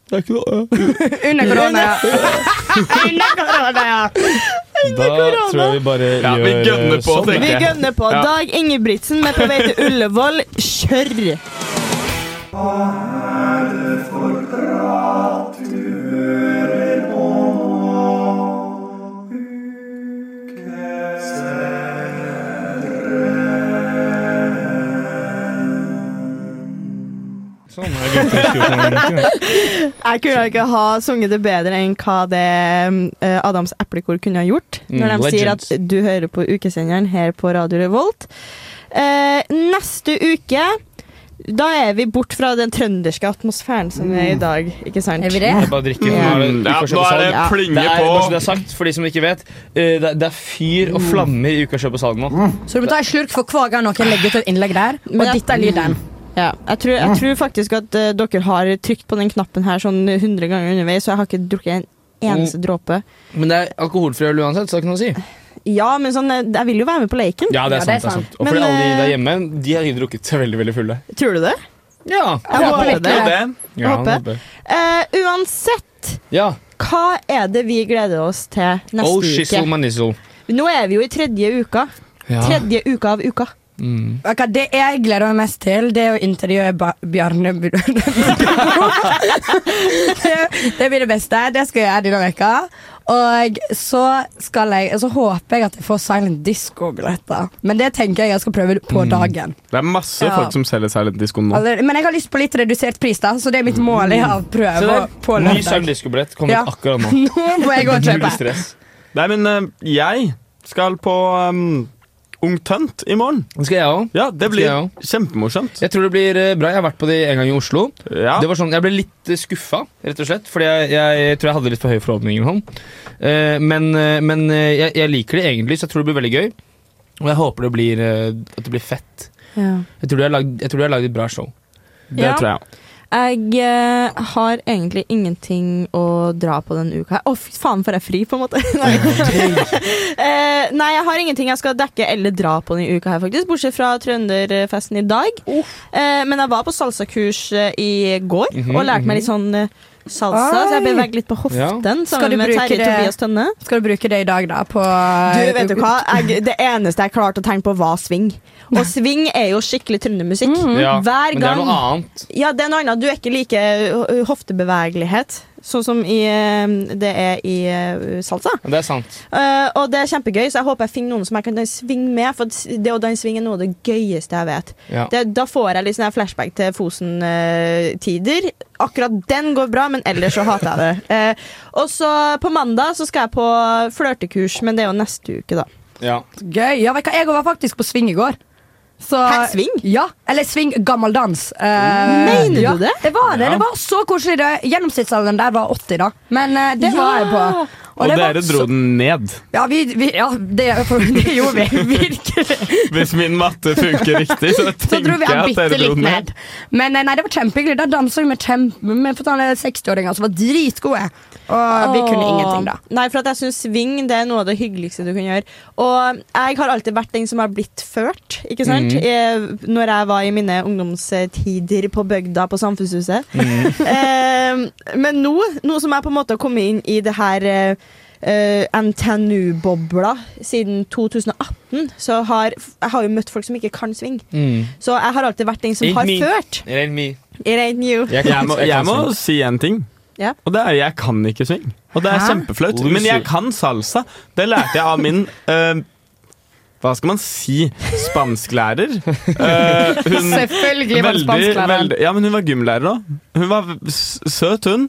E: Det er ikke noe
G: Under korona. ja.
F: Da tror jeg vi bare
E: Ja, vi
F: gjør eh,
E: gønner på,
F: sånn.
E: tenker
D: Vi
E: jeg.
D: gønner på.
E: Ja.
D: Dag Ingebrigtsen med På vei til Ullevål. Kjør! Jeg kunne ikke ha sunget det bedre enn hva det eh, Adams eplekor kunne ha gjort.
F: Mm,
D: Når de sier at
F: legends.
D: du hører på ukesenderen her på Radio Revolt. Eh, neste uke da er vi bort fra den trønderske atmosfæren som er i dag. Ikke sant?
G: Er vi det?
F: Jeg bare drikker. for
D: Ja.
F: nå er det
E: Ja,
F: Ukakjøp
E: nå
F: og
E: er
F: salg.
E: det plinge
F: det er,
E: på.
F: bare så Det er sagt, for de som ikke vet, eh, det er- det er fyr og flammer i Ukakjøp og salg nå.
G: Så du må ta en slurk for hver gang noen legger ut et innlegg der. Og
D: Men jeg-
G: dette er lyden.
D: Ja, jeg tror, jeg tror faktisk at eh, dere har trykt på den knappen her sånn 100 ganger underveis, så jeg har ikke drukket en eneste dråpe.
F: Men det er alkoholfri øl uansett, så det er ikke noe å si.
D: Ja, men sånn, eh, jeg vil jo være med på leken.
F: Ja, det er, sant, det er sant. Og fordi
D: Men,
F: alle de
D: eh,
F: der hjemme, de har drukket seg veldig, veldig fulle.
D: Tror du det?
F: Ja.
D: Jeg håper
G: håper
D: det.
E: det.
D: Jeg håper. Eh, uansett
F: Ja.
D: hva hva er det vi gleder oss til neste
F: Oh, shizzle
D: uke?
F: manizzle.
D: Nå er vi jo i tredje uka.
F: Ja.
D: Tredje uka av uka.
F: Mm.
G: Ok, det jeg gleder meg mest til, det er å intervjue ba Bjarne Bur- det, (laughs) det blir det beste. Det skal jeg gjøre denne uka. Og så, skal jeg, så håper jeg at jeg får Silent Disco-billetter. Men det tenker jeg jeg skal prøve på
F: Mm.
G: dagen.
E: Det er masse
G: Ja.
E: folk som selger seg litt disko nå.
G: Aller- Men jeg har lyst på litt redusert pris, da, så det er mitt mål. Jeg har
F: Se
G: prøvd
F: der,
G: på
F: Ny
G: lørdag.
F: Sound Disco-billett kommer
G: Ja.
F: akkurat nå.
G: (laughs) Nå må jeg gå og
F: Null
G: kjøpe.
F: stress.
E: Nei, men eh, jeg skal på um, Ung Tønt i morgen.
F: Det skal jeg òg.
E: Ja, det
F: skal jeg
E: blir
F: også.
E: kjempemorsomt.
F: Jeg tror det blir eh, bra. Jeg har vært på det en gang i Oslo.
E: Ja.
F: Det var sånn, Jeg ble litt skuffa, rett og slett. Fordi jeg, jeg tror jeg hadde litt for høye forhåpninger om han. Eh, Men, eh, men eh, jeg, jeg liker det egentlig, så jeg tror det blir veldig gøy. Og jeg håper det blir, eh, at det blir fett.
D: Ja.
F: Jeg tror de har lagd- jeg tror de har lagd et bra show.
D: Det Ja. tror
E: jeg òg.
D: Jeg eh, har egentlig ingenting å dra på denne uka. her. Å, fy faen, får jeg fri, på en måte? (laughs) Nei. (laughs) Eh, nei, jeg har ingenting jeg skal dekke eller dra på denne uka, her faktisk bortsett fra trønderfesten i dag. Eh, men jeg var på salsakurs eh, i går
G: Mhm,
D: og lærte meg litt sånn eh, salsa, så jeg
G: Oi.
D: beveget litt på hoften
G: Skal du
D: sammen med
G: bruke
D: Terje
G: det-
D: Tobias Tønne.
G: Skal du bruke det i dag, da? På eh,
D: Du, vet du hva? Jeg, det eneste jeg klarte å tenke på, var swing. Og swing er jo skikkelig
G: Mm.
D: trøndermusikk.
E: Mm.
F: Ja,
D: Hver gang
F: men det er noe annet.
D: Ja, det er noe annet. Du er ikke like ø, hoftebevegelighet sånn som i, ø, det er i ø, salsa.
F: Men Det er sant.
D: Eh, og det er kjempegøy, så jeg håper jeg finner noen som jeg kan danse swing med. For det å danse swing er noe av det gøyeste jeg vet.
F: Ja.
D: Det, da får jeg litt sånn her flashback til Fosen-tider. Akkurat den går bra, men ellers så hater jeg det. Eh, og så på mandag så skal jeg på flørtekurs, men det er jo neste uke, da.
F: Ja.
G: Gøy. Ja, vet du hva? jeg var faktisk på sving i går. Så,
D: Hæ, sving?
G: Ja, eller sving gammel dans. Eh,
D: Mener du
G: ja,
D: det?
G: Det var det.
E: Ja.
G: Det var så koselig. Det- Gjennomsnittsalderen der var 80, da. Men eh, det
D: Ja.
G: var jeg på.
E: Og,
G: var
E: dere dro
G: så-
E: den ned.
G: Ja, vi, vi, ja det, (laughs) for, det
D: (laughs)
G: gjorde vi. Virkelig.
E: Hvis min matte funker riktig,
G: (laughs)
E: så
G: Så dro
E: tenker
G: vi
E: jeg
G: han
E: at
G: bitte
E: dere dro
G: litt
E: den
G: ned.
E: ned.
G: Men eh, nei, det var kjempehyggelig. Da dansa vi med, kjempe- med for sånne 60-åringer som var dritgode. Og vi kunne
D: Åh.
G: ingenting, da.
D: Nei, for at jeg syns sving det er noe av det hyggeligste du kan gjøre. Og jeg har alltid vært den som har blitt ført, ikke sant?
F: Mhm.
D: Eh, når jeg var i mine ungdomstider på bygda på Samfunnshuset.
G: Mhm.
D: (laughs) eh, men nå, nå som jeg på en måte har kommet inn i det her eh, eh, NTNU-bobla siden 2018, så har jeg har jo møtt folk som ikke kan sving.
F: Mm.
D: Så jeg har alltid vært den som
F: Ain't
D: har
F: me.
D: ført.
F: It ain't me.
D: It ain't you.
F: Jeg kan-
E: Jeg må,
F: jeg
E: jeg
F: kan
E: må
F: synge.
E: si en ting.
D: Ja.
E: Og det er jeg kan ikke swing. Og det er
D: Hæ?
E: kjempeflaut.
F: Loser.
E: Men jeg kan salsa. Det lærte jeg av min (laughs) eh, Hva skal man si? Spansklærer.
D: (laughs)
E: Eh, hun-
G: Selvfølgelig var det spansklæreren.
E: veldig- Ja, men hun var gymlærer òg. Hun var v- s- søt, hun.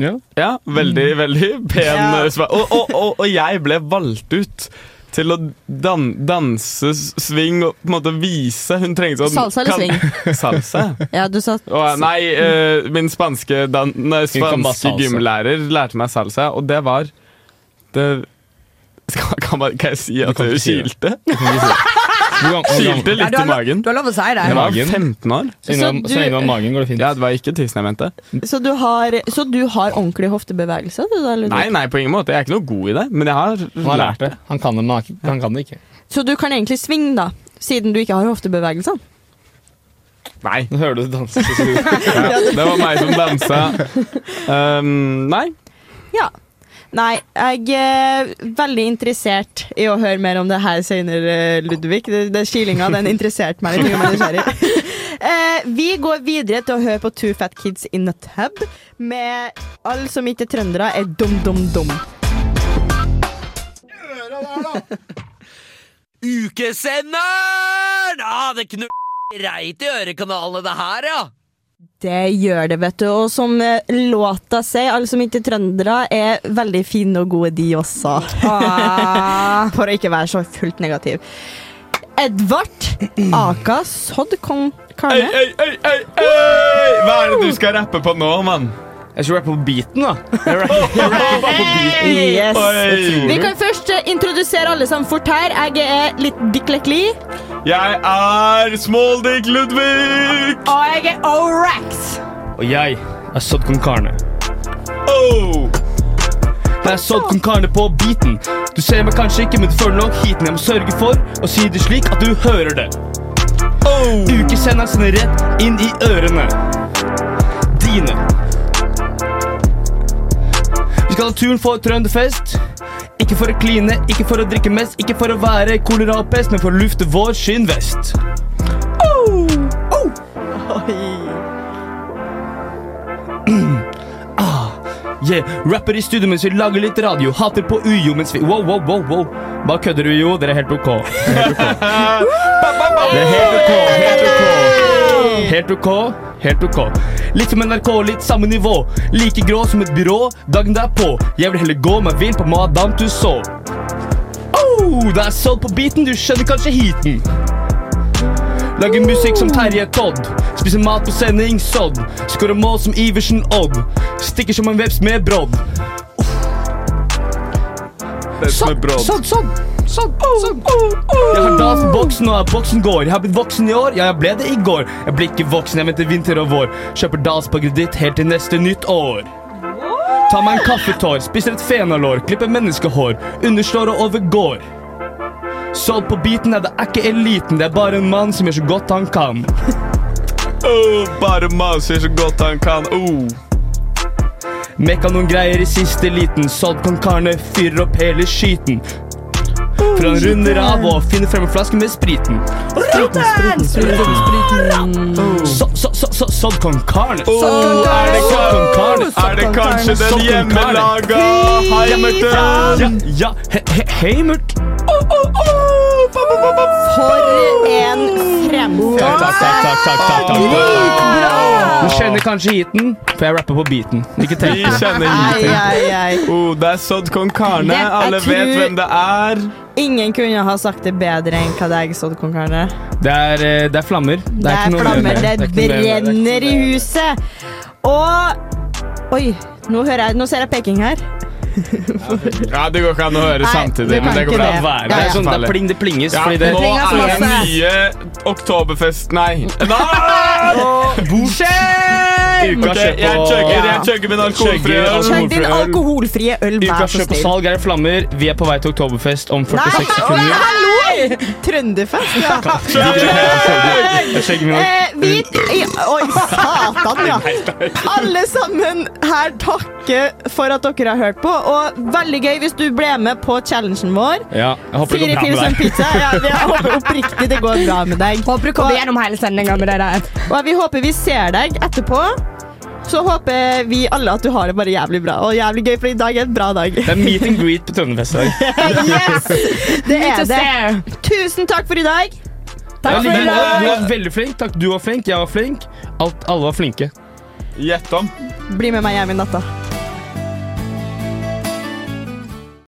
F: Ja.
E: Ja, veldig, veldig pen.
D: Mm. Ja.
E: eh, spa- Og, og, og, og jeg ble valgt ut. Til å dan danse, s- swing og på en måte vise. Hun trengte sånn
D: Salsa eller
E: swing? (laughs) Salsa.
D: Ja, du sa
E: Å, nei, eh, min spanske, dan nei,
F: Hun kan bare
E: spanske
F: salsa.
E: gymlærer lærte meg salsa, og det var det, skal, kan, man, kan jeg si at
F: kan
E: det
F: ikke si det.
E: kilte?
F: Hvor gang- hvor gang-
E: Kilte
G: Ja,
E: litt
G: du, har lov,
E: i magen.
G: du har lov å si det.
E: Jeg var
F: Magen.
E: 15 år.
F: Så lenge det
D: Så
F: var- så
D: du-
F: lenge det var magen, går det fint.
E: Ja, det var ikke tissen jeg mente.
D: Så du har, så du har ordentlig hoftebevegelse? Du, da, Ludvig?
E: Nei, nei, på ingen måte. Jeg er ikke noe god i det, men jeg har
F: Han har lært
E: lært det.
F: det. Han kan det, men han har ikke- han kan det ikke.
D: Så du kan egentlig svinge, da? Siden du ikke har hoftebevegelser?
E: Nei.
F: Nå hører du det danse. så-
E: (laughs) Ja, det var meg som dansa. Um, nei.
D: Ja. Nei, jeg er veldig interessert i å høre mer om det her senere, eh, Ludvig. Det- det Kilinga den interesserte meg litt. jeg ble nysgjerrig. Eh, vi går videre til å høre på Two Fat Kids in a Tub med alle som ikke er trøndere, er dum-dum-dum.
N: Ukesenderen! Ah, det knu... Reit i ørekanalene det her, ja!
D: Det gjør det, vet du. Og som eh, låta sier, alle som ikke er trøndere, er veldig fine og gode, de også.
G: Ah.
D: (laughs) For å ikke være så fullt negativ. Edvard Aka Sodd kom
E: Ei,
D: Karne.
E: ei, ei, ei, ei! Hva er det du skal rappe på nå, mann?
F: Jeg skal rappe på beaten, da.
D: Yes.
E: Oi.
D: Vi kan først eh, introdusere alle sammen fort her. Jeg er litt Dick Lekli.
E: Jeg er Smalldick Ludvig!
D: Og jeg er Orax.
F: Og jeg er Sod Kong Karne.
E: Oh!
F: Jeg er Sod Kong Karne på beaten. Du ser meg kanskje ikke, men du følger nok heaten. Jeg må sørge for å si det slik at du hører det.
E: Oh!
F: Ukesenderen sender rett inn i ørene dine. skal naturen få trønderfest. Ikke for å kline, ikke for å drikke mest, ikke for å være kolerapest, men for å lufte vår skinnvest. Oh! Oh! ah, yeah. Rapper i studio mens vi lager litt radio. Hater på ujo mens vi Wow, wow, wow, wow. Bare kødder ujo. Dere er helt ok.
N: (laughs)
F: Det er helt ok. Helt ok. Helt ok. Helt ok. Litt som NRK, litt samme nivå. Like grå som et byrå dagen derpå. Jeg vil heller gå meg vill på Madame Tussauds. Oh, det er solgt på beaten, du skjønner kanskje heaten. Lager musikk som Terje Todd. Spiser mat på sending, sodd. Skårer mål som Iversen Odd. Stikker som en veps med brodd. Sånn, sånn, sånn. Sånn, sånn. Jeg har dans på boksen, og boksen går. Jeg har blitt voksen i år, ja, jeg ble det i går. Jeg blir ikke voksen, jeg venter vinter og vår. Kjøper dans på kreditt helt til neste nytt år. Ta meg en kaffetår, spiser et fenalår, klipper menneskehår. Underslår og overgår. Solgt på biten, nei, det er ikke eliten, det er bare en mann som gjør så godt han kan.
E: (laughs) Oh, bare maser så godt han kan. Oh.
F: Mekka noen greier i siste liten. Solgt kong Karne fyrer opp hele skiten. For han runder av og finner frem en flaske med Oh, spriten. Spriten, spriten, Oh. spriten. Så, så, så, så, sånn kong Karne.
E: Oh, er det kan-
F: Sånn kong Karne.
E: er det kanskje den
F: Sånn kong Karne.
E: hjemmelaga Heimerton?
F: Ja, ja. He- he- Heimert.
E: Oh,
D: For en fremgang!
F: Takk, takk, takk, takk, takk, takk. Du kjenner kanskje heaten, for jeg rapper på beaten. Ikke tenk
E: Vi
F: på det.
E: kjenner
D: Ai, ai, ai.
E: Oh, det er sådd kong Karne.
D: Det- jeg
E: Alle vet
D: tror-
E: hvem det er.
D: Ingen kunne ha sagt det bedre enn hva deg, sånn, kong Karne.
F: Det er, eh, det er flammer. Det
D: Det er
F: ikke noe mer.
D: flammer, det
F: er ikke noe mer.
D: brenner i huset. Og Oi, nå, hører jeg, nå ser jeg peking her.
E: Ja, Det går ikke an å høre
D: Nei,
E: samtidig,
D: det
E: men det
D: kan
E: går
D: ikke
E: bra.
D: det.
E: Være.
D: Ja,
F: ja. Det er sånn, det er pling, det plinges,
E: Ja,
F: fordi det-
E: nå
F: Plinges
E: er det
F: masse.
E: nye Oktoberfest Nei!
F: Uka
E: Ok,
F: kjøp
E: jeg
F: og-
E: chugger- jeg chugger min alkoholfrie
F: Chugger
E: øl.
D: Kjøp din
F: Alkoholfri øl.
D: alkoholfrie øl, vær
F: Ukas
D: så
F: kjøp og
D: snill.
F: salg er flammer. Vi er på vei til Oktoberfest om 46
D: Nei,
F: sekunder.
D: hallo! Trønderfest, ja.
F: Jeg skjegger min alkohol.
D: Eh, vi ja, Oi, satan, ja. Alle sammen her takker for at dere har hørt på. Og veldig gøy hvis du ble med på challengen vår.
F: Ja, jeg håper det går
D: Fire
F: bra med
D: pils og en
F: deg.
D: pizza. Ja, vi håper oppriktig det går bra med deg. Håper
G: du kommer gjennom hele sendinga med det der.
D: Og vi håper vi ser deg etterpå. Så håper vi alle at du har det bare jævlig bra. Og jævlig gøy, for i dag er en bra dag.
F: Det er meet and greet på Trønderfest i
D: (laughs)
F: dag.
D: yes! Det er det. Tusen takk for i dag.
F: Ja, du var- Du var veldig flink. Takk, du var flink. Jeg var flink. Alt, alle var flinke.
E: Gjett om.
D: Bli med meg hjem i natta.